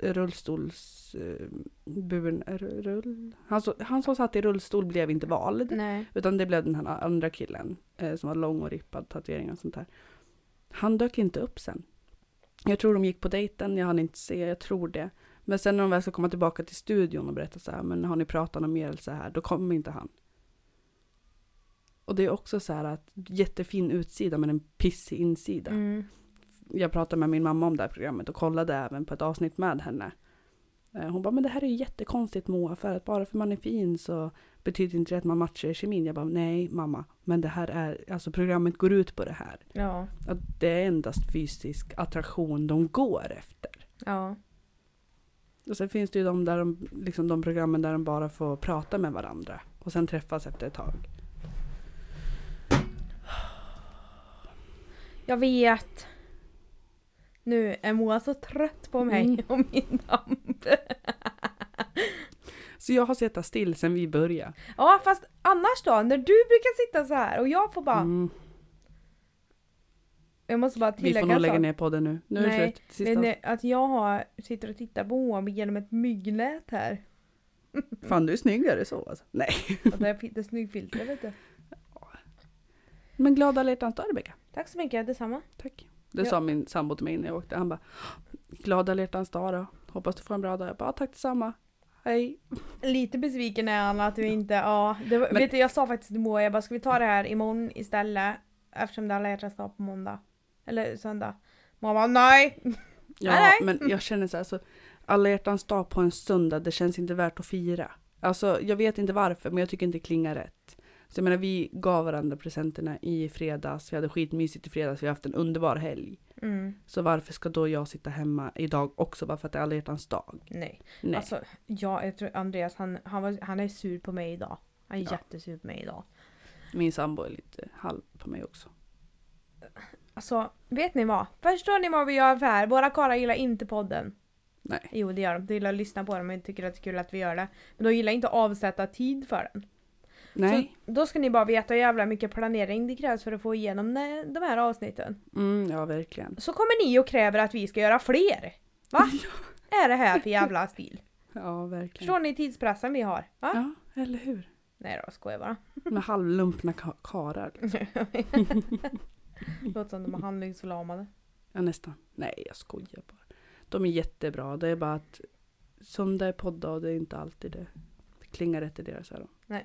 [SPEAKER 2] rullstolsburen, rull, han, som- han som satt i rullstol blev inte vald.
[SPEAKER 1] Nej.
[SPEAKER 2] Utan det blev den här andra killen eh, som var lång och rippad, tatueringar och sånt där. Han dök inte upp sen. Jag tror de gick på dejten, jag hann inte se, jag tror det. Men sen när de väl ska komma tillbaka till studion och berätta så här, men har ni pratat om mer eller så här, då kommer inte han. Och det är också så här att jättefin utsida men en pissig insida.
[SPEAKER 1] Mm.
[SPEAKER 2] Jag pratade med min mamma om det här programmet och kollade även på ett avsnitt med henne. Eh, Hon bara, men det här är ju jättekonstigt Moa, för att bara för man är fin så betyder inte det att man matchar i kemin. Jag bara, nej mamma, men det här är, alltså programmet går ut på det här.
[SPEAKER 1] Ja.
[SPEAKER 2] Att det är endast fysisk attraktion de går efter.
[SPEAKER 1] Ja.
[SPEAKER 2] Och sen finns det ju de, där de, liksom de programmen där de bara får prata med varandra och sen träffas efter ett tag.
[SPEAKER 1] Jag vet. Nu är Moa så trött på mig
[SPEAKER 2] Mm.
[SPEAKER 1] och min damp.
[SPEAKER 2] Så jag har suttit still sen vi började.
[SPEAKER 1] Ja fast annars då, när du brukar sitta så här och jag får bara...
[SPEAKER 2] Mm.
[SPEAKER 1] Jag måste bara
[SPEAKER 2] Vi
[SPEAKER 1] tillägga
[SPEAKER 2] får
[SPEAKER 1] en
[SPEAKER 2] nog lägga
[SPEAKER 1] sak.
[SPEAKER 2] ner podden nu. Nu är det
[SPEAKER 1] Nej,
[SPEAKER 2] slut. Sista
[SPEAKER 1] Men, eh, att jag har, sitter och tittar på Moa genom ett myggnät här. eh,
[SPEAKER 2] Fan du är snyggare så alltså. Nej.
[SPEAKER 1] Och där finns det snyggfilter vet du.
[SPEAKER 2] Men glada alla hjärtans dag Rebecka.
[SPEAKER 1] Tack så mycket, detsamma.
[SPEAKER 2] Tack. Det
[SPEAKER 1] Ja.
[SPEAKER 2] sa min sambo till mig innan jag åkte. Han bara glada alla hjärtans dag då. Hoppas du får en bra dag. Jag bara tack detsamma. Hej.
[SPEAKER 1] Lite besviken är han att vi inte, ja. Det, var-
[SPEAKER 2] Men-
[SPEAKER 1] Vet du, jag sa faktiskt till Moa, jag bara ska vi ta det här imorgon istället? Eftersom det är alla hjärtans dag på måndag. Eller söndag. Moa bara nej!
[SPEAKER 2] Ja,
[SPEAKER 1] Nej,
[SPEAKER 2] men jag känner så här, så alla hjärtans dag på en söndag, det känns inte värt att fira. Alltså, jag vet inte varför, men jag tycker inte det klingar rätt. Så jag menar, vi gav varandra presenterna i fredags, vi hade skitmysigt i fredags, vi har haft en underbar helg.
[SPEAKER 1] Mm,
[SPEAKER 2] Så varför ska då jag sitta hemma idag också bara för att det är alla hjärtans dag?
[SPEAKER 1] nej.
[SPEAKER 2] Nej.
[SPEAKER 1] Alltså, ja, jag tror Andreas han, han, var, han är sur på mig idag. Han är
[SPEAKER 2] Ja.
[SPEAKER 1] jättesur på mig idag.
[SPEAKER 2] Min sambo är lite halv på mig också.
[SPEAKER 1] Alltså, vet ni vad? Förstår ni vad vi gör för här? Våra karlar gillar inte podden.
[SPEAKER 2] Nej.
[SPEAKER 1] Jo, det gör de. De gillar att lyssna på den men tycker att det är kul att vi gör det. Men de gillar inte att avsätta tid för den.
[SPEAKER 2] Nej.
[SPEAKER 1] Så, då ska ni bara veta hur jävla mycket planering det krävs för att få igenom ne- de här avsnitten.
[SPEAKER 2] Mm, ja, verkligen.
[SPEAKER 1] Så kommer ni och kräver att vi ska göra fler! Va? Är det här för jävla stil?
[SPEAKER 2] Ja, verkligen.
[SPEAKER 1] Förstår ni tidspressen vi har? Va?
[SPEAKER 2] Ja, eller hur?
[SPEAKER 1] Nej då, skojar bara.
[SPEAKER 2] Med halvlumpna ka- karar.
[SPEAKER 1] Mm. Låter som de är handlingsförlamade.
[SPEAKER 2] Ja, nästan. Nej, jag skojar bara. De är jättebra. Det är bara att som det är podda och det är inte alltid det, det klingar rätt i deras öron.
[SPEAKER 1] Men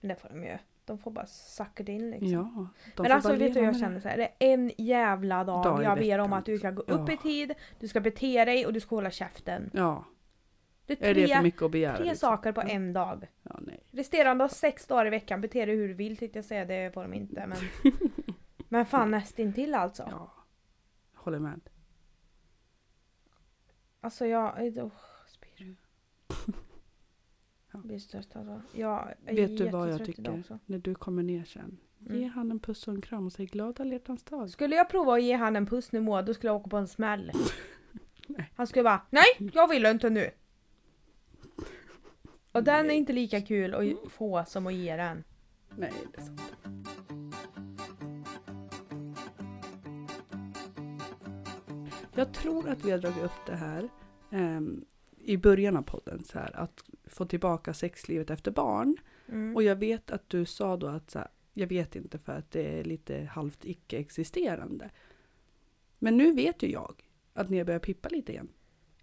[SPEAKER 1] det får de ju. De får bara sucka det in liksom.
[SPEAKER 2] Ja, de
[SPEAKER 1] Men
[SPEAKER 2] får
[SPEAKER 1] alltså
[SPEAKER 2] bara
[SPEAKER 1] vet du
[SPEAKER 2] leva
[SPEAKER 1] jag
[SPEAKER 2] med
[SPEAKER 1] känner så här, det är en jävla dag,
[SPEAKER 2] Dag i
[SPEAKER 1] jag ber om
[SPEAKER 2] veckan.
[SPEAKER 1] att du ska gå upp
[SPEAKER 2] Ja.
[SPEAKER 1] i tid, du ska bete dig och du ska hålla käften.
[SPEAKER 2] det. Ja,
[SPEAKER 1] Det är
[SPEAKER 2] är det för
[SPEAKER 1] tre,
[SPEAKER 2] mycket att begära?
[SPEAKER 1] tre
[SPEAKER 2] liksom?
[SPEAKER 1] saker på
[SPEAKER 2] Ja.
[SPEAKER 1] en dag.
[SPEAKER 2] Ja, nej.
[SPEAKER 1] Resterande av sex dagar i veckan, bete dig hur du vill tänkte jag säga, det får de inte men... men fan nästintill alltså.
[SPEAKER 2] Ja. Jag Håller med.
[SPEAKER 1] Alltså jag... Oh, spyr.
[SPEAKER 2] Ja.
[SPEAKER 1] Jag blir stött alltså. Jag är
[SPEAKER 2] Vet du vad jag
[SPEAKER 1] jättetrött idag alltså.
[SPEAKER 2] tycker?
[SPEAKER 1] också.
[SPEAKER 2] När du kommer ner sen.
[SPEAKER 1] Mm.
[SPEAKER 2] Ge han en puss och en kram och säg glad alla hjärtans dag.
[SPEAKER 1] Skulle jag prova att ge han en puss nu Moa, då skulle jag åka på en smäll.
[SPEAKER 2] Nej.
[SPEAKER 1] Han skulle bara NEJ! Jag vill inte nu! Och den är inte lika kul
[SPEAKER 2] Mm.
[SPEAKER 1] att få som att ge den.
[SPEAKER 2] Nej, det är sant. Jag tror att vi har dragit upp det här ehm, i början av podden, så här, att få tillbaka sexlivet efter barn.
[SPEAKER 1] Mm.
[SPEAKER 2] Och jag vet att du sa då att så här, jag vet inte för att det är lite halvt icke-existerande. Men nu vet ju jag att ni har börjat pippa lite igen.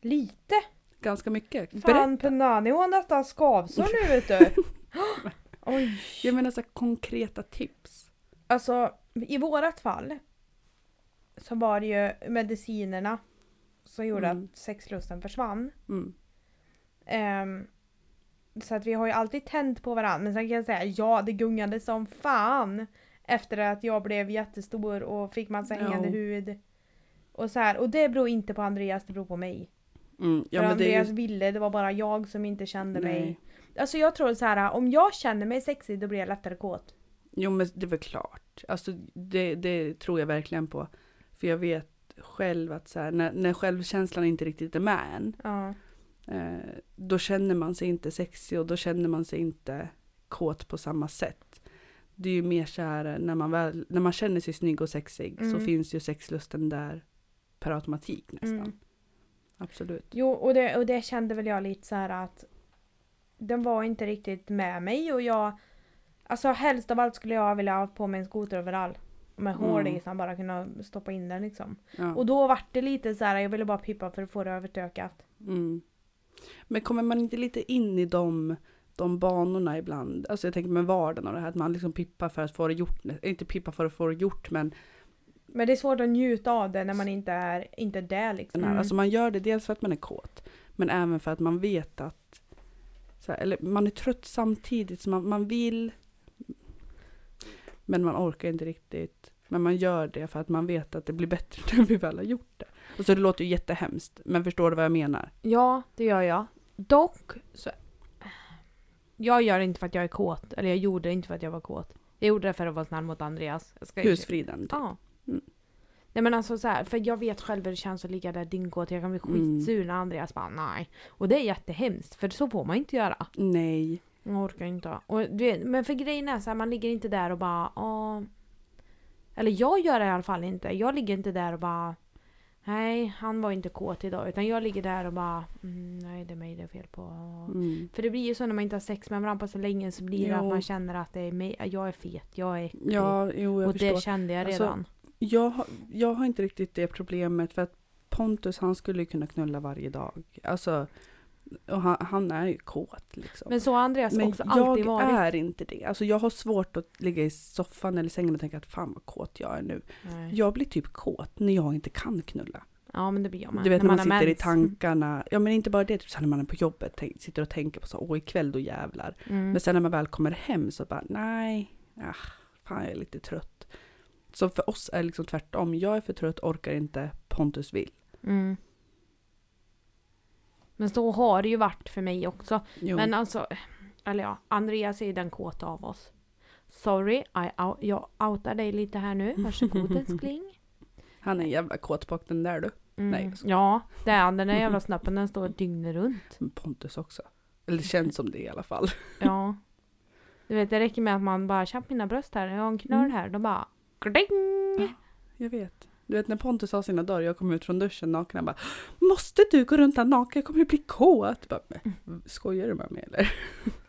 [SPEAKER 1] Lite!
[SPEAKER 2] Ganska mycket. Berätta.
[SPEAKER 1] Fan Punani hon har nästan skavsår nu vet du! Oj!
[SPEAKER 2] Jag menar så här, konkreta tips.
[SPEAKER 1] Alltså i vårat fall så var det ju medicinerna som gjorde
[SPEAKER 2] Mm.
[SPEAKER 1] att sexlusten försvann.
[SPEAKER 2] Mm.
[SPEAKER 1] Ehm, så att vi har ju alltid tänt på varandra. Men sen kan jag säga ja, det gungade som fan. Efter att jag blev jättestor och fick massa
[SPEAKER 2] Ja.
[SPEAKER 1] hängande hud. Och så här. Och det beror inte på Andreas, det beror på mig.
[SPEAKER 2] Mm. Ja,
[SPEAKER 1] för
[SPEAKER 2] men det är
[SPEAKER 1] Andreas
[SPEAKER 2] ju...
[SPEAKER 1] ville, det var bara jag som inte kände mig.
[SPEAKER 2] Nej.
[SPEAKER 1] Alltså jag tror så här, om jag känner mig sexig då blir jag lättare kåt.
[SPEAKER 2] Jo men det är väl klart. Alltså det, det tror jag verkligen på. För jag vet själv att så här, när, när självkänslan inte riktigt är med en.
[SPEAKER 1] Ja.
[SPEAKER 2] Eh, då känner man sig inte sexig och då känner man sig inte kåt på samma sätt. Det är ju mer så här eh, när man, väl, när man känner sig snygg och sexig så
[SPEAKER 1] Mm.
[SPEAKER 2] finns ju sexlusten där per automatik nästan.
[SPEAKER 1] Mm.
[SPEAKER 2] Absolut.
[SPEAKER 1] Jo, och det, och det kände väl jag lite så här att den var inte riktigt med mig och jag... Alltså helst av allt skulle jag vilja ha på mig en skoteroverall. Med hål i
[SPEAKER 2] Mm.
[SPEAKER 1] så man bara kunde stoppa in den liksom.
[SPEAKER 2] Ja.
[SPEAKER 1] Och då vart det lite så här, jag ville bara pippa för att få det övertökat.
[SPEAKER 2] Mm. Men kommer man inte lite in i de, de banorna ibland? Alltså jag tänker med vardagen och det här att man liksom pippar för att få det gjort. Eh, Inte pippar för att få det gjort men
[SPEAKER 1] Men det är svårt att njuta av det när man inte är, inte är där liksom.
[SPEAKER 2] den här, alltså man gör det dels för att man är kåt men även för att man vet att så här, eller man är trött samtidigt så man, man vill men man orkar inte riktigt. Men man gör det för att man vet att det blir bättre när vi väl har gjort det. Och så det låter ju jättehemskt men förstår du vad jag menar?
[SPEAKER 1] Ja, det gör jag. Dock så... Jag gör det inte för att jag är kåt. Eller jag gjorde det inte för att jag var kåt. Jag gjorde det för att vara snäll mot Andreas. Jag ska
[SPEAKER 2] Husfriden. typ.
[SPEAKER 1] Ja.
[SPEAKER 2] Mm.
[SPEAKER 1] Nej men alltså så här, för jag vet själv hur det känns att ligga där dyngkåt. Jag kan bli
[SPEAKER 2] Mm.
[SPEAKER 1] skitsur när Andreas bara nej. Och det är jättehemskt för så får man inte göra.
[SPEAKER 2] Nej.
[SPEAKER 1] Jag orkar inte. Och du vet, men för grejen är så här, man ligger inte där och bara åh. Eller jag gör det i alla fall inte. Jag ligger inte där och bara nej han var inte kåt idag. Utan jag ligger där och bara mm, nej det är mig det är fel på.
[SPEAKER 2] Mm.
[SPEAKER 1] För det blir ju så när man inte har sex med varandra på så länge så blir det att
[SPEAKER 2] Jo.
[SPEAKER 1] man känner att det är mig, jag är fet, jag är äcklig.
[SPEAKER 2] Ja, jo, jag
[SPEAKER 1] och
[SPEAKER 2] förstår.
[SPEAKER 1] det kände jag
[SPEAKER 2] Alltså,
[SPEAKER 1] redan.
[SPEAKER 2] Jag, har- jag har inte riktigt det problemet för att Pontus han skulle ju kunna knulla varje dag. Alltså, och han, han är ju kåt liksom.
[SPEAKER 1] Men så har Andreas också alltid
[SPEAKER 2] jag
[SPEAKER 1] varit.
[SPEAKER 2] är inte det. Alltså jag har svårt att ligga i soffan eller sängen och tänka att fan vad kåt jag är nu.
[SPEAKER 1] Nej.
[SPEAKER 2] Jag blir typ kåt när jag inte kan knulla.
[SPEAKER 1] Ja men det blir jag med.
[SPEAKER 2] Du vet när man,
[SPEAKER 1] har
[SPEAKER 2] sitter i
[SPEAKER 1] mens. Mm.
[SPEAKER 2] tankarna. Ja men inte bara det, typ så här när man är på jobbet tänk, sitter och tänker på så åh ikväll då jävlar.
[SPEAKER 1] Mm.
[SPEAKER 2] Men sen när man väl kommer hem så bara nej, ah, fan jag är lite trött. Så för oss är det liksom tvärtom. Jag är för trött, orkar inte, Pontus vill.
[SPEAKER 1] Mm. Men så har det ju varit för mig också.
[SPEAKER 2] Jo.
[SPEAKER 1] Men alltså, eller ja, Andreas är ju den kåta av oss. Sorry, I out, jag outar dig lite här nu. Varsågod älskling.
[SPEAKER 2] Han är en jävla kåtbock den där du.
[SPEAKER 1] Mm.
[SPEAKER 2] Nej, jag skojar.
[SPEAKER 1] Ja, det är han. Den där jävla snappen den står dygnet runt.
[SPEAKER 2] Men Pontus också. Eller det känns som det i alla fall.
[SPEAKER 1] Ja. Du vet det räcker med att man bara tjapp mina bröst här, jag har en knöl
[SPEAKER 2] Mm.
[SPEAKER 1] här. Då bara kling!
[SPEAKER 2] Jag vet. Du vet när Pontus har sina dagar, jag kom ut från duschen naken, han bara Måste du gå runt här naken, jag kommer ju bli kåt. Bara,
[SPEAKER 1] Mm.
[SPEAKER 2] "Men, Skojar du med mig eller?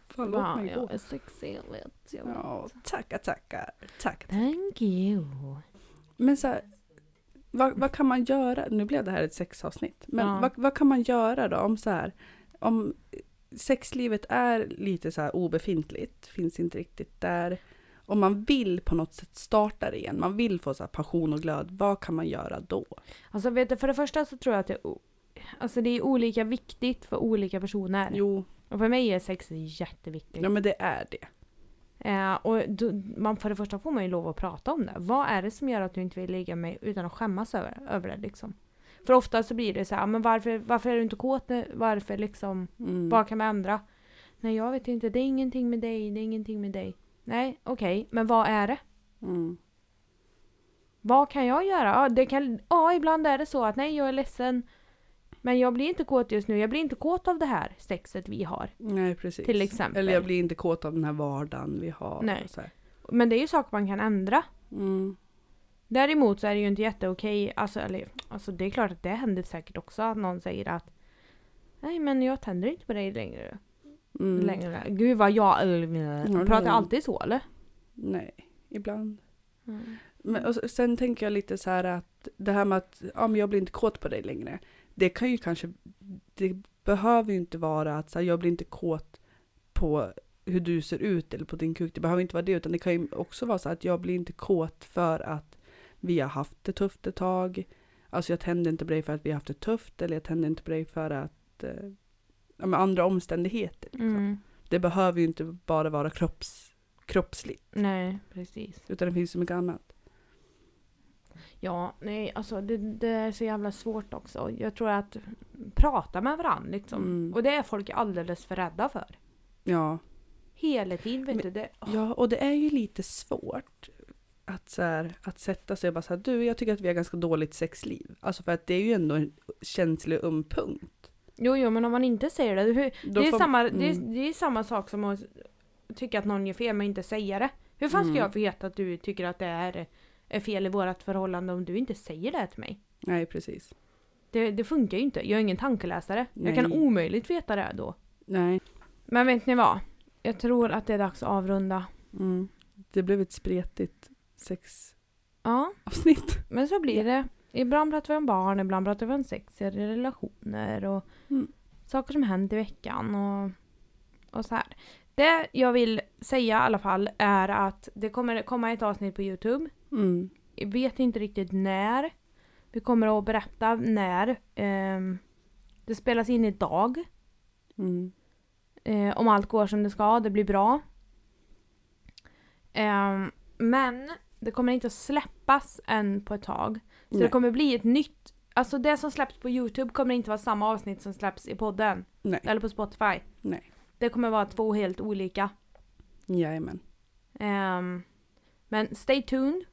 [SPEAKER 2] Fan låt
[SPEAKER 1] Bara,
[SPEAKER 2] mig gå.
[SPEAKER 1] jag är sexig, jag vet. Jag vet.
[SPEAKER 2] Ja, tackar, tackar. Tack,
[SPEAKER 1] Thank you.
[SPEAKER 2] Men så här, vad, vad kan man göra? Nu blev det här ett sexavsnitt. Men
[SPEAKER 1] Ja.
[SPEAKER 2] vad, vad kan man göra då om så här, om sexlivet är lite så här obefintligt, finns inte riktigt där. Om man vill på något sätt starta det igen, man vill få så här passion och glöd, vad kan man göra då?
[SPEAKER 1] Alltså vet du, för det första så tror jag att det, är o- alltså, det är olika viktigt för olika personer.
[SPEAKER 2] Jo,
[SPEAKER 1] Och för mig är sex jätteviktigt.
[SPEAKER 2] ja men det är det.
[SPEAKER 1] Eh, och då, man, för det första får man ju lov att prata om det. Vad är det som gör att du inte vill ligga med mig utan att skämmas över, över det liksom? För ofta så blir det så här, "Ah, men varför, varför är du inte kåt? nu? Varför liksom,
[SPEAKER 2] Mm.
[SPEAKER 1] vad kan vi ändra? Nej jag vet inte, det är ingenting med dig, det är ingenting med dig. Nej, okej, men vad är det?
[SPEAKER 2] Mm.
[SPEAKER 1] Vad kan jag göra? Ja, det kan, ja, ibland är det så att nej, jag är ledsen. Men jag blir inte kåt just nu. Jag blir inte kåt av det här sexet vi har.
[SPEAKER 2] Nej precis.
[SPEAKER 1] Till exempel.
[SPEAKER 2] Eller jag blir inte kåt av den här vardagen vi har. och
[SPEAKER 1] Nej.
[SPEAKER 2] Så här.
[SPEAKER 1] Men det är ju saker man kan ändra.
[SPEAKER 2] Mm.
[SPEAKER 1] Däremot så är det ju inte jätteokej. Alltså, eller, alltså det är klart att det händer säkert också att någon säger att Nej men jag tänder inte på dig längre.
[SPEAKER 2] Mm.
[SPEAKER 1] längre. Gud vad jag...
[SPEAKER 2] det-
[SPEAKER 1] Pratar jag alltid så eller?
[SPEAKER 2] Nej, ibland. Mm. Men, och s- sen tänker jag lite så här att det här med att ja, men jag blir inte kåt på dig längre. Det kan ju kanske, det behöver ju inte vara att så här, jag blir inte kåt på hur du ser ut eller på din kuk. Det behöver inte vara det utan det kan ju också vara så att jag blir inte kåt för att vi har haft det tufft ett tag. Alltså jag tänder inte på dig för att vi har haft det tufft eller jag tänder inte på dig för att eh, ja, men andra omständigheter. Liksom.
[SPEAKER 1] Mm.
[SPEAKER 2] Det behöver ju inte bara vara kropps, kroppsligt
[SPEAKER 1] Nej precis.
[SPEAKER 2] utan det finns så mycket annat.
[SPEAKER 1] Ja, nej alltså det, det är så jävla svårt också. Jag tror att prata med varandra liksom.
[SPEAKER 2] Mm.
[SPEAKER 1] Och det är folk alldeles för rädda för.
[SPEAKER 2] Ja.
[SPEAKER 1] Hela tiden vet
[SPEAKER 2] Men-
[SPEAKER 1] du. Det, åh,
[SPEAKER 2] ja, och det är ju lite svårt att, så här, att sätta sig och bara så här, du jag tycker att vi har ganska dåligt sexliv. Alltså för att det är ju ändå en känslig och öm punkt.
[SPEAKER 1] Jo, jo, men om man inte säger det. Hur,
[SPEAKER 2] Då
[SPEAKER 1] det, är
[SPEAKER 2] får-
[SPEAKER 1] samma, det, är,
[SPEAKER 2] mm.
[SPEAKER 1] det är samma sak som att tycka att någon gör fel men inte säga det. Hur fan ska
[SPEAKER 2] Mm.
[SPEAKER 1] jag veta att du tycker att det är, är fel i vårt förhållande om du inte säger det till mig?
[SPEAKER 2] Nej, precis.
[SPEAKER 1] Det, det funkar ju inte. Jag är ingen tankeläsare. Jag kan
[SPEAKER 2] Nej.
[SPEAKER 1] omöjligt veta det då.
[SPEAKER 2] Nej.
[SPEAKER 1] Men vet ni vad? Jag tror att det är dags att avrunda.
[SPEAKER 2] Mm. Det blev ett spretigt sexavsnitt.
[SPEAKER 1] Ja, men så blir det. Ibland pratar vi om barn, ibland pratar vi om sex i relationer och
[SPEAKER 2] Mm.
[SPEAKER 1] saker som hänt i veckan och, och så här. Det jag vill säga i alla fall är att det kommer komma ett avsnitt på Youtube.
[SPEAKER 2] Mm.
[SPEAKER 1] Jag vet inte riktigt när. Vi kommer att berätta när. Ehm, det spelas in idag.
[SPEAKER 2] Mm.
[SPEAKER 1] Eh, om allt går som det ska, det blir bra. Ehm, men det kommer inte att släppas än på ett tag. Så det
[SPEAKER 2] Nej.
[SPEAKER 1] kommer bli ett nytt, alltså det som släpps på Youtube kommer inte vara samma avsnitt som släpps i podden.
[SPEAKER 2] Nej.
[SPEAKER 1] Eller på Spotify.
[SPEAKER 2] Nej.
[SPEAKER 1] Det kommer vara två helt olika.
[SPEAKER 2] Jajamän.
[SPEAKER 1] Ehm, men stay tuned.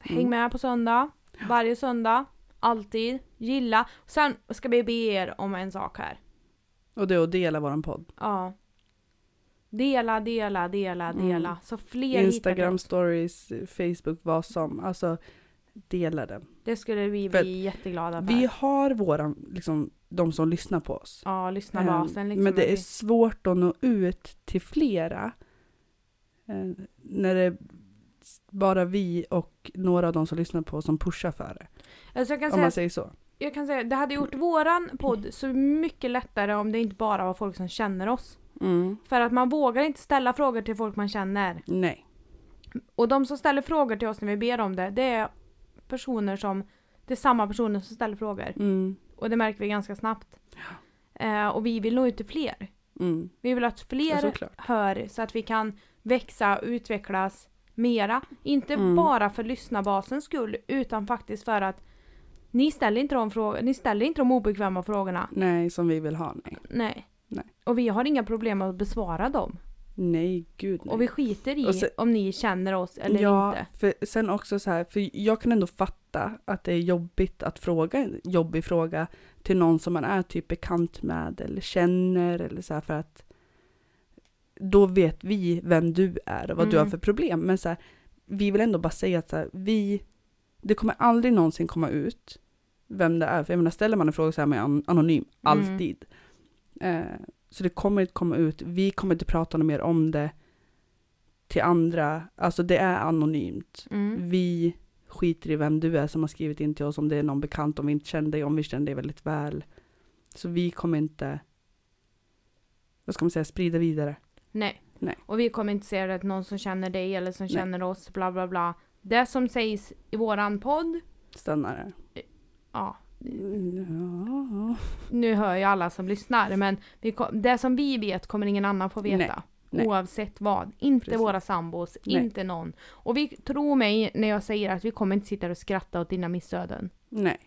[SPEAKER 1] Häng
[SPEAKER 2] Mm.
[SPEAKER 1] med på söndag. Varje söndag. Alltid. Gilla. Sen ska vi be er om en sak här.
[SPEAKER 2] Och det är att dela våran podd.
[SPEAKER 1] Ja. Dela, dela, dela,
[SPEAKER 2] Mm.
[SPEAKER 1] dela. Så fler hittar
[SPEAKER 2] Instagram
[SPEAKER 1] oss.
[SPEAKER 2] stories, Facebook, vad som. Alltså, dela den.
[SPEAKER 1] Det skulle vi
[SPEAKER 2] För-
[SPEAKER 1] bli jätteglada för.
[SPEAKER 2] Vi har våran, liksom, de som lyssnar på oss.
[SPEAKER 1] Ja, lyssna
[SPEAKER 2] Eh,
[SPEAKER 1] basen liksom.
[SPEAKER 2] Men
[SPEAKER 1] att
[SPEAKER 2] det är
[SPEAKER 1] vi-
[SPEAKER 2] svårt att nå ut till flera. Eh, när det är bara vi och några av de som lyssnar på oss som pushar för det.
[SPEAKER 1] alltså, jag, kan
[SPEAKER 2] Om
[SPEAKER 1] säga,
[SPEAKER 2] man
[SPEAKER 1] att-
[SPEAKER 2] säger så.
[SPEAKER 1] jag kan säga det hade gjort våran podd så mycket lättare om det inte bara var folk som känner oss.
[SPEAKER 2] Mm.
[SPEAKER 1] För att man vågar inte ställa frågor till folk man känner.
[SPEAKER 2] Nej.
[SPEAKER 1] Och de som ställer frågor till oss när vi ber om det, det är personer som, det är samma personer som ställer frågor.
[SPEAKER 2] Mm.
[SPEAKER 1] Och det märker vi ganska snabbt. Eh, och vi vill nå ut till fler.
[SPEAKER 2] Mm.
[SPEAKER 1] Vi vill att
[SPEAKER 2] Ja,
[SPEAKER 1] fler
[SPEAKER 2] såklart.
[SPEAKER 1] hör så att vi kan växa och utvecklas mera. Inte
[SPEAKER 2] Mm.
[SPEAKER 1] bara för lyssnarbasens skull utan faktiskt för att ni ställer inte de, frågor, ni ställer inte de obekväma frågorna.
[SPEAKER 2] Nej, som vi vill ha. Nej,
[SPEAKER 1] Nej.
[SPEAKER 2] Nej.
[SPEAKER 1] Och vi har inga problem att besvara dem.
[SPEAKER 2] nej gud nej.
[SPEAKER 1] Och vi skiter i
[SPEAKER 2] Och se-
[SPEAKER 1] om ni känner oss eller
[SPEAKER 2] ja,
[SPEAKER 1] inte.
[SPEAKER 2] För sen också så här, för jag kan ändå fatta att det är jobbigt att fråga en jobbig fråga till någon som man är typ bekant med eller känner eller så här för att då vet vi vem du är och vad du
[SPEAKER 1] Mm.
[SPEAKER 2] har för problem. Men så här, vi vill ändå bara säga att så här, vi, det kommer aldrig någonsin komma ut vem det är. För jag menar, ställer man en fråga så är man ju an- anonym,
[SPEAKER 1] Mm.
[SPEAKER 2] alltid. Eh, så det kommer inte komma ut, vi kommer inte prata något mer om det till andra, alltså det är anonymt.
[SPEAKER 1] Mm.
[SPEAKER 2] Vi skiter i vem du är som har skrivit in till oss, om det är någon bekant, om vi inte känner dig, om vi känner dig väldigt väl. Så vi kommer inte, vad ska man säga, sprida vidare.
[SPEAKER 1] Nej.
[SPEAKER 2] Nej.
[SPEAKER 1] Och vi kommer inte säga det till någon som känner dig eller som
[SPEAKER 2] Nej.
[SPEAKER 1] känner oss, bla bla bla. Det som sägs i våran podd,
[SPEAKER 2] Stannar det.
[SPEAKER 1] ja, Mm.
[SPEAKER 2] Ja.
[SPEAKER 1] nu hör ju alla som lyssnar, men vi kom, det som vi vet kommer ingen annan få veta.
[SPEAKER 2] Nej, nej.
[SPEAKER 1] Oavsett vad. Inte
[SPEAKER 2] Precis.
[SPEAKER 1] våra sambos,
[SPEAKER 2] Nej.
[SPEAKER 1] inte någon. Och vi, tro mig när jag säger att vi kommer inte sitta och skratta åt dina missöden.
[SPEAKER 2] Nej,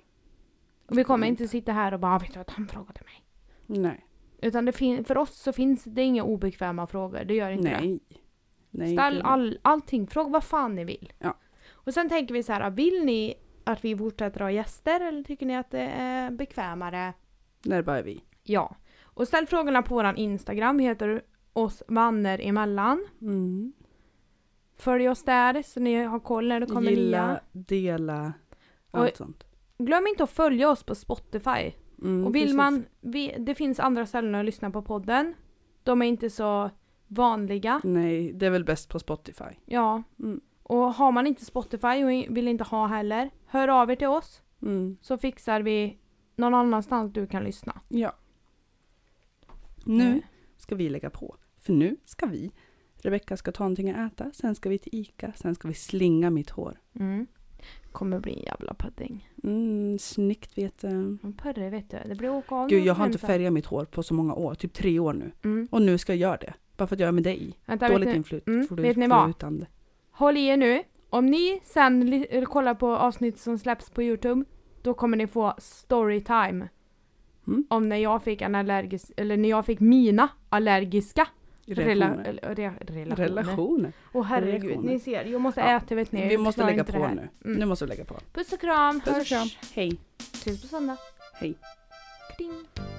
[SPEAKER 1] Och vi kommer
[SPEAKER 2] Mm.
[SPEAKER 1] inte sitta här och bara "Ah, vet du vad han frågade mig.
[SPEAKER 2] nej,
[SPEAKER 1] Utan det fin- för oss så finns det inga obekväma frågor, det gör inte det.
[SPEAKER 2] nej. nej.
[SPEAKER 1] Ställ
[SPEAKER 2] gud,
[SPEAKER 1] all, allting, fråga vad fan ni vill.
[SPEAKER 2] Ja.
[SPEAKER 1] Och sen tänker vi så här, "Ah, vill ni att vi fortsätter ha gäster eller tycker ni att det är bekvämare
[SPEAKER 2] När det bara är vi.
[SPEAKER 1] Ja. Och ställ frågorna på våran Instagram. Vi heter oss vanner emellan.
[SPEAKER 2] Mm.
[SPEAKER 1] Följ oss där så ni har koll när det kommer nya.
[SPEAKER 2] Gilla, dela, allt
[SPEAKER 1] Och-
[SPEAKER 2] sånt.
[SPEAKER 1] Glöm inte att följa oss på Spotify.
[SPEAKER 2] Mm,
[SPEAKER 1] och vill
[SPEAKER 2] precis.
[SPEAKER 1] man, vi, det finns andra ställen att lyssna på podden. De är inte så vanliga.
[SPEAKER 2] Nej, det är väl bäst på Spotify.
[SPEAKER 1] Ja.
[SPEAKER 2] Mm.
[SPEAKER 1] Och har man inte Spotify och i- vill inte ha heller, hör av er till oss
[SPEAKER 2] Mm.
[SPEAKER 1] så fixar vi någon annanstans du kan lyssna.
[SPEAKER 2] Ja. Nu
[SPEAKER 1] Mm.
[SPEAKER 2] ska vi lägga på. För nu ska vi. Rebecka ska ta någonting att äta, sen ska vi till Ica, sen ska vi slinga mitt hår.
[SPEAKER 1] Mm. Kommer bli en jävla pudding.
[SPEAKER 2] Mm, snyggt vet du.
[SPEAKER 1] En purre vet du, det blir åka av
[SPEAKER 2] Gud,
[SPEAKER 1] någon
[SPEAKER 2] jag har inte
[SPEAKER 1] människa.
[SPEAKER 2] färgat mitt hår på så många år, typ tre år nu.
[SPEAKER 1] Mm.
[SPEAKER 2] Och nu ska jag göra det. Bara för att jag är med dig.
[SPEAKER 1] Vänta, vet
[SPEAKER 2] Dåligt
[SPEAKER 1] ni,
[SPEAKER 2] inflyt.
[SPEAKER 1] mm,
[SPEAKER 2] får du-
[SPEAKER 1] vet ni
[SPEAKER 2] får du
[SPEAKER 1] vad?
[SPEAKER 2] utan det.
[SPEAKER 1] håll i er nu. Om ni sen li- eller kollar på avsnitt som släpps på Youtube, då kommer ni få storytime
[SPEAKER 2] Mm.
[SPEAKER 1] om när jag fick en allergisk, eller när jag fick mina allergiska rela-
[SPEAKER 2] Relationer.
[SPEAKER 1] eller- re- relationer.
[SPEAKER 2] Relationer.
[SPEAKER 1] Åh herregud,
[SPEAKER 2] Reaktioner.
[SPEAKER 1] ni ser, jag måste
[SPEAKER 2] Ja.
[SPEAKER 1] äta vet ni.
[SPEAKER 2] Vi
[SPEAKER 1] jag
[SPEAKER 2] måste
[SPEAKER 1] klarar
[SPEAKER 2] lägga
[SPEAKER 1] inte det
[SPEAKER 2] på
[SPEAKER 1] här.
[SPEAKER 2] nu.
[SPEAKER 1] Mm.
[SPEAKER 2] Nu måste vi lägga på.
[SPEAKER 1] Puss och kram,
[SPEAKER 2] Puss och
[SPEAKER 1] hörs.
[SPEAKER 2] kram. Hej.
[SPEAKER 1] Ses på söndag.
[SPEAKER 2] Hej.
[SPEAKER 1] Kling.